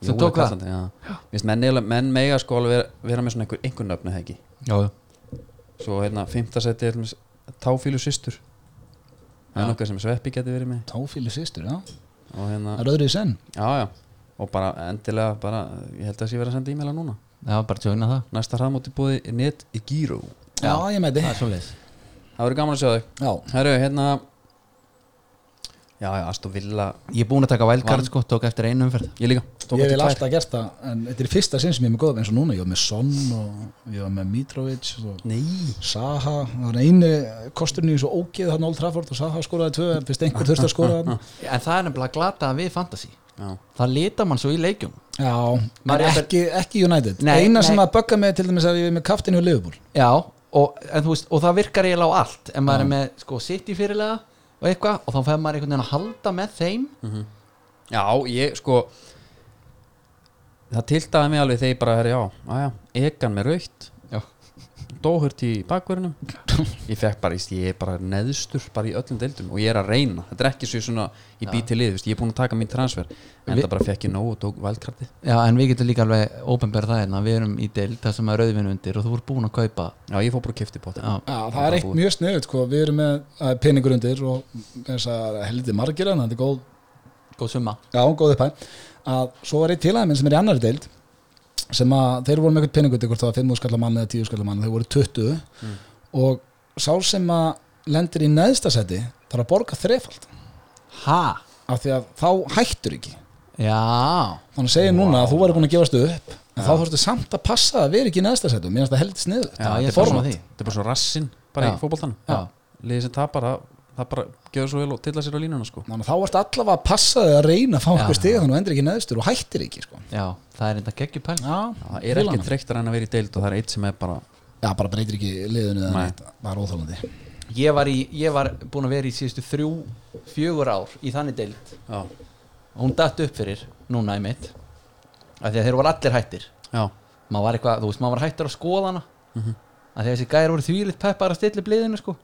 Speaker 2: Sem tók það?
Speaker 1: Jólakallarnir, já. Vist, menn, eiginlega- menn mega sko alveg vera, vera með svona einhver einhver nöfnu hegi
Speaker 2: já, já.
Speaker 1: svo hérna fimmtasetti táfílu systur það
Speaker 2: Já.
Speaker 1: er nokkað sem sveppi geti verið með
Speaker 3: Táfíli systur, já
Speaker 1: og hérna,
Speaker 3: Það er öðru í senn
Speaker 1: já já og bara endilega, bara, ég held að sé verið að senda e-maila núna
Speaker 2: já, bara tjóna það
Speaker 1: næsta hraðmóti búði net í gíró
Speaker 3: Já, ég mæti
Speaker 2: það er svo leis
Speaker 1: það verður gaman að sjá þau
Speaker 3: Já,
Speaker 1: Herru, hérna já já, Aston Villa
Speaker 2: ég er búin að taka
Speaker 1: Vann.
Speaker 2: wildcard sko, tók eftir einu umferð
Speaker 1: ég líka, tók
Speaker 3: ég
Speaker 1: eftir
Speaker 3: vil
Speaker 1: tvær.
Speaker 3: alltaf gert það En þetta er í fyrsta sinn sem ég er með góða eins og núna Ég var með Son og ég var með Mitrovic og
Speaker 1: Nei,
Speaker 3: Saha Það var einu kosturinn í svo ógeð hann Old Trafford og Saha skoraði tvö en fyrst einhver þurfti að skora hann
Speaker 2: en það er nefnilega glata við fantasy
Speaker 1: já,
Speaker 2: það lita mann svo í leikjum
Speaker 3: Já, en
Speaker 2: Maður er
Speaker 3: ekki, ekki United
Speaker 2: Nei,
Speaker 3: Eina sem
Speaker 2: nei.
Speaker 3: að bögga mig til dæmis er að ég er með kaftin hjá Liverpool
Speaker 2: já, og, en, þú veist, og það virkar eiginlega á allt en maður er með sko, city fyrirlega og eitthvað og þá fær maður einhvern veginn að halda með þeim
Speaker 1: já, ég sko það tiltaði mig alveg þegar ég bara, herru, já, aðja egan með raukt,
Speaker 2: já,
Speaker 1: dóhurt í bakverðinu ég fekk bara, víst, ég er bara neðstur bara í öllum deildum og ég er að reyna þetta er ekki svo svona, ég býti til lið víst, ég er búin að taka mín transfer, en
Speaker 2: Vi-
Speaker 1: það bara fekk ég nóg og tók valkarti,
Speaker 2: já en við getum líka alveg ópenbæra það hérna, við erum í deild þar sem er rauðvinu undir og þú voru búin að kaupa
Speaker 1: já, ég fór bara kifti bótt
Speaker 2: já,
Speaker 3: Já, það er eitt mjög sniðut, sko. við erum með eh, peningur undir og þess að heldur margir en þetta er góð,
Speaker 2: góð summa
Speaker 3: já, góð upphæð að svo var eitt tilæðið minn sem er í annari deild sem að þeir voru með eitthvað peningur undir hvort það var 5 skallar mann eða 10 skallar mann, þeir voru 20 og sá sem að lendir í neðsta seti þarf að borga þrefald
Speaker 2: ha,
Speaker 3: af því að þá hættur ekki
Speaker 2: já
Speaker 3: þannig að segja núna að þú væri búin að gefast upp en þá þurftu samt að passa að vera ekki í neðsta seti og mér finnst það heldur sniðut
Speaker 2: Já, ég er sammála því.
Speaker 1: þetta er bara svo rassin bara
Speaker 2: Já.
Speaker 1: í fótboltanum
Speaker 2: Já.
Speaker 1: liðið sem tapar, það, það bara gefur svo vel og tilla sér á línuna sko
Speaker 3: Þannig að þá varst allavega að passa þig að reyna að fá einhver
Speaker 2: Já.
Speaker 3: stig þannig að þú endur ekki neðstur og hættir ekki sko.
Speaker 2: já, það er enda geggjupæl
Speaker 3: Já,
Speaker 1: Já, það er ekki treyktar en að vera í deild og það er eitt sem er bara
Speaker 3: Já, bara breytir ekki liðinu eða
Speaker 1: Nei.
Speaker 3: neitt Það er óþólandi
Speaker 2: ég var, í, ég var búin að vera í síðustu þrjú, fjögur ár í þannig deild
Speaker 1: já,
Speaker 2: og hún datt upp fyrir núna í mitt af því að þeir voru allir hættir
Speaker 1: já,
Speaker 2: maður var eitthvað, þú veist, maður var hættur að skoða hana
Speaker 3: Mhm.
Speaker 2: af því að þessi gæri voru þvílitt peppar að stilla upp liðinu sko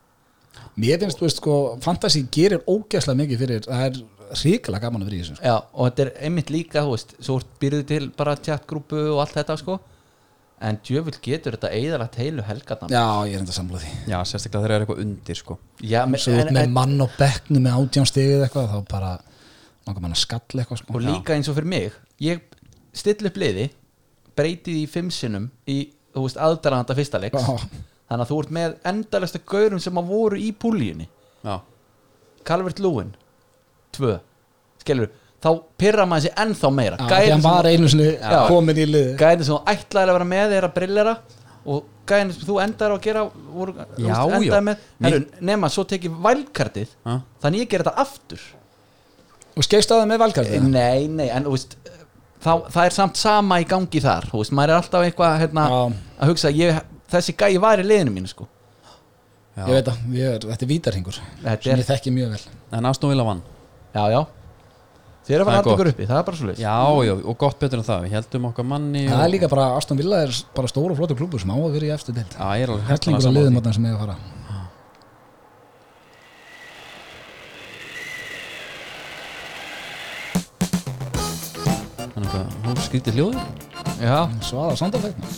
Speaker 3: Mér finnst, þú veist, sko, fantasy gerir ógeðslega mikið fyrir Það er ríkilega gaman að vera í þessu sko.
Speaker 2: Já, og þetta er einmitt líka, þú veist, svo byrjuð til bara tjattgrúpu og allt þetta sko en djöfull getur þetta eðalagt heilu helgarnar
Speaker 3: Já, ég er enda að samla því
Speaker 1: já, sérstaklega þegar það er eitthvað undir sko
Speaker 2: Já, me-
Speaker 3: Svo þú ert
Speaker 2: en,
Speaker 3: með
Speaker 2: en,
Speaker 3: mann og bekknu með átján stigið eitthvað þá bara langar mann að skalla eitthvað sko.
Speaker 2: og líka eins og fyrir mig ég stilla upp liði breyti því fimm sinnum í, þú veist, aðdaranda fyrsta leiks
Speaker 3: Já.
Speaker 2: þannig að þú ert með endalasta gaurum sem að voru í púlíunni
Speaker 1: já,
Speaker 2: Calvert Lúin tvö, skilur þá pyrra maður sér ennþá meira
Speaker 3: Já,
Speaker 2: Gæinn
Speaker 3: Því hann
Speaker 2: sem-
Speaker 3: var einu sinni
Speaker 2: Já.
Speaker 3: komin í liði
Speaker 2: gæðin sem þú ætlaðir að vera með er að brillera og gæðin sem þú endar á að gera voru, þú
Speaker 1: Já,
Speaker 2: veist, endaðir
Speaker 1: já.
Speaker 2: með, heru, nema svo tekið vælkartið
Speaker 1: Ha?
Speaker 2: þannig ég ger þetta aftur
Speaker 3: Og skeist á það með valkartið
Speaker 2: nei, nei, en þú veist þá, það er samt sama í gangi þar þú veist, maður er alltaf eitthvað hérna,
Speaker 3: Já.
Speaker 2: að hugsa, ég, þessi gæði var í liðinu mínu sko.
Speaker 1: já.
Speaker 3: Ég veit það, ég er- þetta er vítarhingur
Speaker 2: Þetta
Speaker 3: sem
Speaker 2: er-
Speaker 3: ég þekki mjög vel
Speaker 1: en Aston Villa vann
Speaker 2: já, já þeir eru að
Speaker 1: Það er
Speaker 2: fara að
Speaker 1: gott.
Speaker 2: ykkur uppi, það er bara svo leys
Speaker 1: já, já, og gott betur en það, við heldum okkar manni
Speaker 3: Það er
Speaker 1: og...
Speaker 3: líka bara, Aston Villa er bara stór og flottur klubur sem á að vera í eftir deild
Speaker 1: já, ég er alveg
Speaker 3: Hellingur að
Speaker 1: sammála
Speaker 3: liðum
Speaker 1: því.
Speaker 3: þarna sem ég að fara
Speaker 1: þannig að hún skrítið hljóði já,
Speaker 2: já,
Speaker 3: Svaða Sandarfætna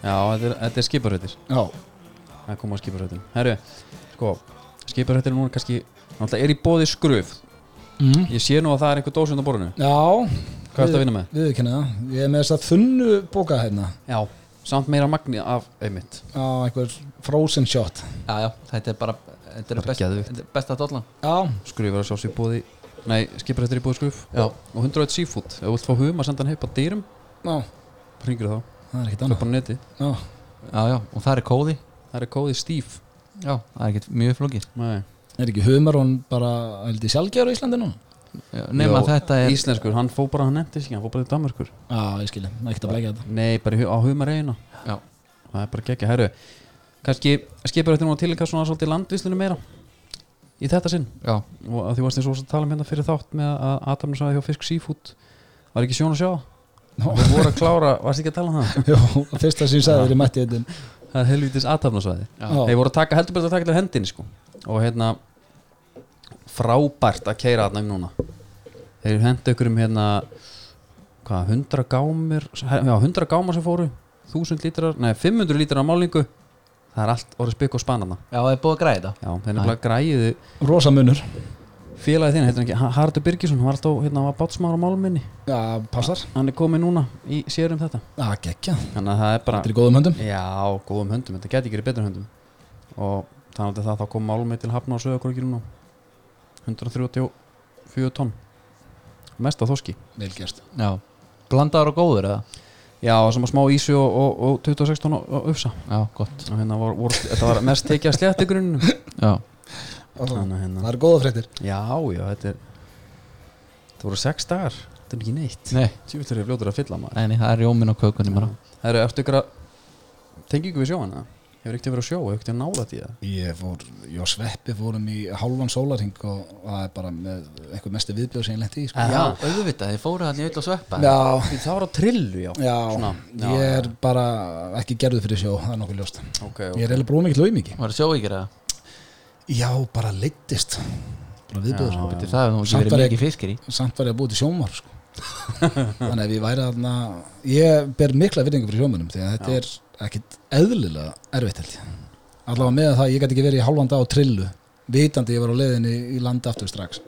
Speaker 1: þetta er, þetta er skiparhautir
Speaker 3: Já,
Speaker 1: það kom á skiparhautin, herru sko, skiparhautin núna kannski náttúrulega er í bóði skröf
Speaker 3: mm.
Speaker 1: ég sé nú að það er einhver dósund á borðinu
Speaker 3: Já
Speaker 1: hvað ertu að vinna með?
Speaker 3: Við kynna það Ég er með þess að þunnu bóka hérna
Speaker 1: já, samt meira magni af einmitt
Speaker 3: á einhver frozen shot
Speaker 2: já, já, þetta er bara þetta er
Speaker 1: Bara
Speaker 2: best,
Speaker 1: geðvikt.
Speaker 2: þetta er besta dollan
Speaker 3: Já,
Speaker 1: skröfur að sjá sér bóði nei, skiparhautir í bóði skröf
Speaker 2: Já.
Speaker 1: og 101 seafood, ef þú vilt fá hugum að senda hann heip á dýrum
Speaker 3: já,
Speaker 1: hringir þá,
Speaker 3: það er ekkert
Speaker 1: það er
Speaker 3: annað
Speaker 1: bara neti
Speaker 3: Já,
Speaker 2: já, já, og það er kóði
Speaker 1: það er kóði Steve
Speaker 2: já, það er ekkert mjög flókið
Speaker 1: Nei.
Speaker 3: er ekki humar hún bara heldur sjálfgjör á Íslandi nú?
Speaker 2: Já, nema
Speaker 1: Jó,
Speaker 2: þetta er
Speaker 1: íslenskur, hann fór bara, hann nefndi sig ekki, hann fór bara til Danmarkur
Speaker 3: Já, ég skilja, ekkert að blækja þetta
Speaker 1: nei, bara í hu- á humareina
Speaker 2: já,
Speaker 1: það er bara geggja, herru kannski skipur þetta nú að tilika svona svolítið landvíslinu meira í þetta sinn
Speaker 2: já,
Speaker 1: og að því varst eins og að tala um hérna fyrir þátt með að Adam sagði hjá Fisk Seafood var ekki sjón að sjá
Speaker 3: Nó.
Speaker 1: við voru að klára, varst ekki að tala um það
Speaker 3: Jó, það fyrsta sem ég sagði þegar ég mætti þetta
Speaker 1: það er helvitis aðtafnarsvæði
Speaker 3: Já.
Speaker 1: þeir voru að taka, heldur bara að taka til hendin sko. og hérna frábært að keira þarna um núna þeir hendu ykkur um hérna hvað, 100 gámur já, 100 gámur sem fóru 1000 lítrar, nei 500 lítrar á málingu það er allt orðið spikk og spanna
Speaker 2: Já, það er búið að græða þetta
Speaker 1: já, þeir nefnilega græði
Speaker 3: Rosa munur
Speaker 1: félagið þín, heitir hann ekki, Haraldur Birgisson hann var alltaf, hérna, var bátsmáður á málminni
Speaker 3: Já, passar
Speaker 1: hann er komið núna í sérum þetta
Speaker 3: Já, gekkja
Speaker 1: þannig að það er bara
Speaker 3: Þetta er í góðum höndum
Speaker 1: Já, góðum höndum, þetta geti ekki verið betur höndum og þannig að það þá kom málmið til hafna á sögurkrókinu 134 tonn mest á þoski
Speaker 3: Vel gert
Speaker 2: Já, blandaður og góður eða?
Speaker 1: Já, sem að smá ísu og, og, og 26 tonn á á ufsa
Speaker 2: Já, gott
Speaker 1: og hérna var, voru, þetta var mest tekið að slétti grunnu
Speaker 2: Já,
Speaker 1: Þannig að hérna
Speaker 3: Það er góða fréttir
Speaker 1: Já, já, þetta er þetta voru 6 dagar, þetta er ekki neitt
Speaker 2: nei,
Speaker 1: Tjúvill er ég fljótur að fylla maður
Speaker 2: nei, nei, það er jómin á kökunni bara
Speaker 1: Það eru eftir ykkur að tengingu við sjóana Hefur ekkert verið að sjóa, hefur ekkert að nála því það
Speaker 3: Ég fór, ég og Sveppi fórum í hálfan sólarhing og það er bara með eitthvað mesti viðbjóð sem ég lenti í sko.
Speaker 2: Já, auðvitað, þið fóruð hann í öll að sveppa
Speaker 3: Já,
Speaker 1: Það var á trillu, já
Speaker 3: já,
Speaker 1: Svona, já,
Speaker 3: ég er bara ekki gerður fyrir sjó, það er nokkuð ljóst
Speaker 1: okay,
Speaker 3: Ég er eða bróð mikill laumingi
Speaker 2: Var það sjóvíkir eða?
Speaker 3: Já, bara leittist Bara viðbjóður
Speaker 1: Já,
Speaker 2: Bíddu, Það hefur nú ekki
Speaker 3: Samt var
Speaker 2: verið
Speaker 3: ég-
Speaker 2: mikið fiskir í
Speaker 3: samt var ég að búið til sjómar sko. þannig að ég væri aðna ég ber mikla virðingu fyrir sjómanum því að þetta er ekkit eðlilega erfitt held ég allavega með það að ég gæti ekki verið í hálfan dag á trillu vitandi ég var á leiðinni í landa aftur strax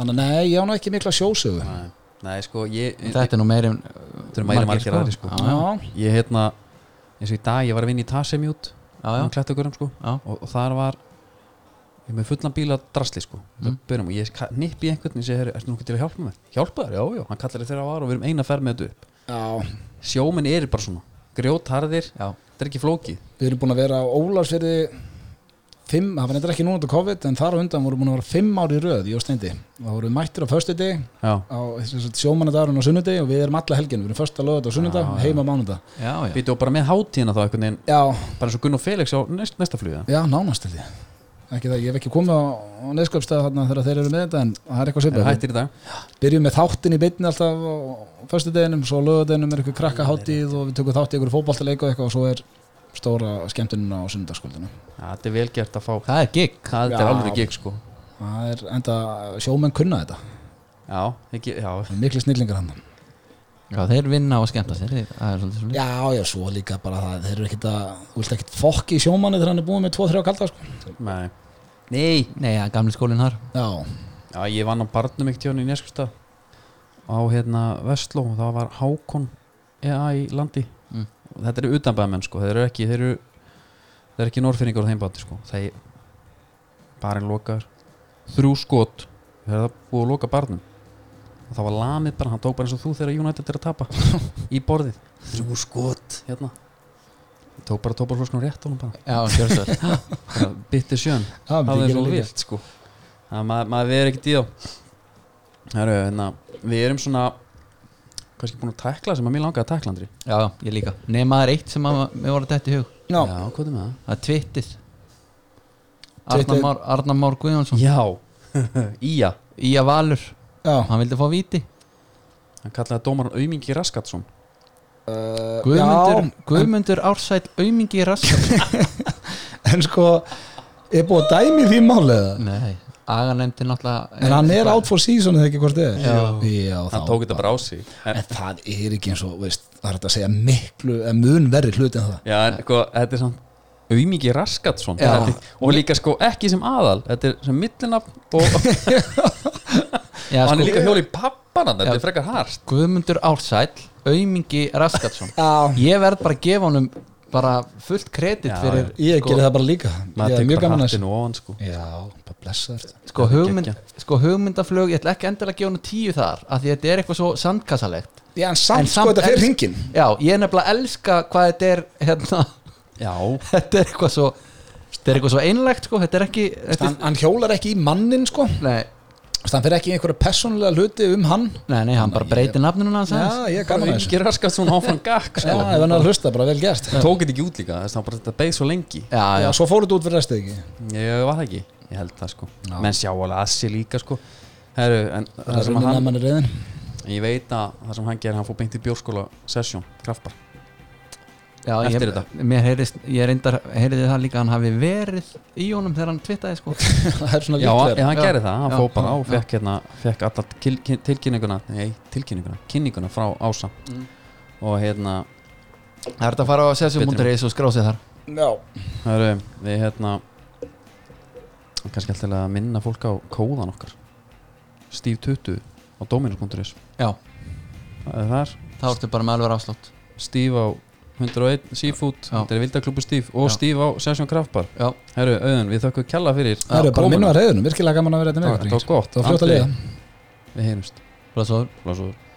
Speaker 3: þannig að nei, ég á nú ekki mikla sjósögu
Speaker 1: Nei, nei sko ég
Speaker 2: Þetta er nú um- meiri
Speaker 1: Þetta eru meiri margir aðrir, sko.
Speaker 2: Já, já,
Speaker 1: Ég hérna eins og í dag ég var að vinna í Tasemjút
Speaker 2: já, já,
Speaker 1: á Klettugurum sko
Speaker 2: já.
Speaker 1: og, og þar var ég með fullan bíla drasli sko mm. byrjum, og ég ka- nippi í einhvern og ég segi "Heyrðu, ertu nú ekki til að hjálpa mér hjálpa þér, já, já, hann kallar þér þegar að var og við erum eina ferð með þetta upp
Speaker 3: já,
Speaker 1: sjóminn er bara svona, grjótharðir
Speaker 2: já.
Speaker 1: þetta er ekki flókið,
Speaker 3: við erum búin að vera á Ólarsfyrði fimm, það var neitt ekki núna til COVID en þar á undan vorum búin að vera fimm ári röð í Ósteindi og það vorum mættir á föstudegi
Speaker 1: já,
Speaker 3: á sjómanadagrun á sunnudegi og við erum alla helgin, við erum första lögat á sunnudag,
Speaker 1: Já, já.
Speaker 3: heima á mánudag
Speaker 2: já, já.
Speaker 1: býtu og bara með hátíðina þá einhvern veginn,
Speaker 3: já,
Speaker 1: bara eins og Gunn og Felix á næst, næsta fluga,
Speaker 3: Já, nánast held ég ekki það, ég hef ekki komið á, á neðskapstað þarna þegar þeir eru með þetta en það er eitthvað
Speaker 1: er
Speaker 3: svipað
Speaker 1: hættir í dag
Speaker 3: Við byrjum með þáttin í beinni alltaf á föstudeginum, svo lögadeginum er eitthvað krakkaháttíð og við tökum þátt í einhverju fótballtaleik og eitthvað og svo er stóra skemmtunin á sunnudagskvöldinu
Speaker 1: já, þetta er vel gert að fá,
Speaker 2: Það er gig
Speaker 1: það er
Speaker 3: Já.
Speaker 1: alveg gig sko
Speaker 3: það er enda sjómenn kunna þetta
Speaker 1: já, ekki, já,
Speaker 3: Það er miklu snillingar hann
Speaker 2: Já, þeir vinna á að skemmta sér þeir- Það er svolítið svolítið
Speaker 3: Já, já, svo líka bara það, þeir eru ekkit að þú vilt ekkit fokki í sjómanni þegar hann er búin með 2-3 kalda sko.
Speaker 1: nei nei,
Speaker 2: Nei, ja, gamli skólinn þar
Speaker 3: Já,
Speaker 1: Já, ég vann á barnum ekkert hjá hann í Neskustad á hérna Vestló og það var Hákon EA í landi
Speaker 2: Mm.
Speaker 1: og þetta eru utanbæðamenn sko, þeir eru ekki þeir eru, þeir eru ekki norfinningur á þeim báti sko, þeir barinn lokar þrjú skot þeir eru búið að loka barnum og það var lamið bara, hann tók bara eins og þú þegar United er að tapa í borðið þrjú skot hérna tók bara tópar flósknum rétt á hann bara,
Speaker 2: Já, kjörsvöld
Speaker 1: bara bytti sjön
Speaker 3: það
Speaker 1: það er
Speaker 3: myndi
Speaker 1: svo
Speaker 3: ég gera líka.
Speaker 1: vilt sko það maður, maður verið ekkert í þá Heru, hérna, við erum svona kannski búin að tækla sem að mér langaði að tækla Andri
Speaker 2: Já, ég líka Nei, maður eitt sem að mér voru þetta í hug
Speaker 3: Já,
Speaker 1: já, hvað er með það?
Speaker 2: Það er Twitter
Speaker 3: Twitter.
Speaker 2: Arnar Már, Arnar Már Guðjónsson
Speaker 1: já, Ía
Speaker 2: Ía Valur
Speaker 3: já,
Speaker 2: Hann vildi fá víti
Speaker 1: hann kallaði dómaran Aumingi Raskatsson
Speaker 3: uh,
Speaker 2: Guðmundur,
Speaker 3: já.
Speaker 2: Guðmundur Ársæl Aumingi Rassar
Speaker 3: En sko, er búið að dæmi í því máliða?
Speaker 2: Nei, Aga nefndi náttúrulega
Speaker 3: En hann er out for season eða ekki hvort þið er
Speaker 2: Já.
Speaker 3: Já
Speaker 1: hann
Speaker 3: þá-
Speaker 1: tók þetta bara á sig en,
Speaker 3: En það er ekki eins og, veist, það er hægt að segja miklu, en mun verri hluti en það
Speaker 1: já, en sko, þetta er svona Aumingi Raskatsson
Speaker 3: Já.
Speaker 1: Þetta er- og líka sko ekki sem aðal þetta er sem millinafn og
Speaker 2: Já,
Speaker 1: hann
Speaker 2: sko,
Speaker 1: er líka hjóli pappan þetta
Speaker 2: Já.
Speaker 1: er frekar harst
Speaker 2: Guðmundur Ársæl Aumingi Raskarsson
Speaker 3: Já
Speaker 2: Ég verð bara að gefa honum bara fullt kredit
Speaker 1: Já,
Speaker 2: fyrir sko,
Speaker 3: Ég gerði það bara líka Ég
Speaker 1: maður
Speaker 3: er mjög
Speaker 1: tekur
Speaker 3: gaman
Speaker 1: bara
Speaker 3: að
Speaker 1: hattinu ofan sko
Speaker 3: þessu Já, bara blessa þér
Speaker 2: sko, hugmynd,
Speaker 1: Gekkja.
Speaker 2: sko hugmyndaflög ég ætla ekki endilega að gefa hennu tíu þar af því að þetta er eitthvað svo sandkassalegt
Speaker 3: Já, en
Speaker 2: En
Speaker 3: samt, sko, þetta fyrir
Speaker 2: els-
Speaker 3: hringin
Speaker 2: já, ég er nefnilega að elska hvað þetta er hérna,
Speaker 1: já,
Speaker 2: þetta er eitthvað svo þetta er eitthvað svo einlegt sko, þetta er ekki þetta
Speaker 3: hann, hann hjólar ekki í mannin, sko
Speaker 2: er, nei,
Speaker 3: Þannig hann fyrir ekki í einhverja persónulega hluti um hann
Speaker 2: nei, nei, hann bara breytir nafninu hans aðeins.
Speaker 3: Já, ég er gaman að þessu
Speaker 1: Aumingi Raskatsson áfram gakk sko.
Speaker 3: Já, ef hann er að hlusta, bara vel gert
Speaker 1: tók þetta ekki út líka þess að bara þetta beigð svo lengi
Speaker 2: já, já,
Speaker 3: Já, svo fóruð þú út fyrir restið ekki
Speaker 1: ég var það ekki, ég held það sko menn sjá alveg að sér líka sko Heru, en það
Speaker 3: Það er
Speaker 1: sem að
Speaker 3: minna að
Speaker 1: hann,
Speaker 3: mann er reyðin
Speaker 1: ég veit að það sem hann gerir hann fór beint í bjórskóla sesjón, kraftbar
Speaker 2: Já,
Speaker 1: Eftir
Speaker 2: ég,
Speaker 1: þetta.
Speaker 2: mér heyrist, ég reyndar, heyrði það líka að hann hafi verið í honum þegar hann tvittaði sko.
Speaker 3: það er svona
Speaker 1: Já,
Speaker 3: líklega.
Speaker 1: hann, hann
Speaker 2: Já.
Speaker 1: gerði það, hann
Speaker 2: Já.
Speaker 1: fóð bara á og
Speaker 2: Já.
Speaker 1: fekk, hérna, fekk alla til, tilkynninguna nei, tilkynninguna, kynninguna frá Ása
Speaker 2: Mm.
Speaker 1: og hérna
Speaker 2: það er þetta að fara á sesjum.is og skrási þar
Speaker 3: Já,
Speaker 1: hörru, við hérna kannski alltaf að minna fólk á kóðan okkar Steve 20 á Dominus.is
Speaker 2: Já,
Speaker 1: það er þar,
Speaker 2: þá ertu bara með alveg afslátt
Speaker 1: Steve á 101 Seafood,
Speaker 2: Já.
Speaker 1: þetta er Vildaklubbu Steve og
Speaker 2: Já.
Speaker 1: Steve á Session Kraftbar
Speaker 2: Já,
Speaker 1: Herru, auðun, við þökkum kjalla fyrir
Speaker 3: það eru bara
Speaker 1: komuna.
Speaker 3: minnum að reyðunum, virkilega gaman að vera hérna þetta
Speaker 1: Takk,
Speaker 3: með
Speaker 1: Þetta var gott,
Speaker 3: Það var fljótt að
Speaker 1: Andri,
Speaker 3: liða
Speaker 1: Við heyrumst
Speaker 2: bara svo
Speaker 1: Blásúður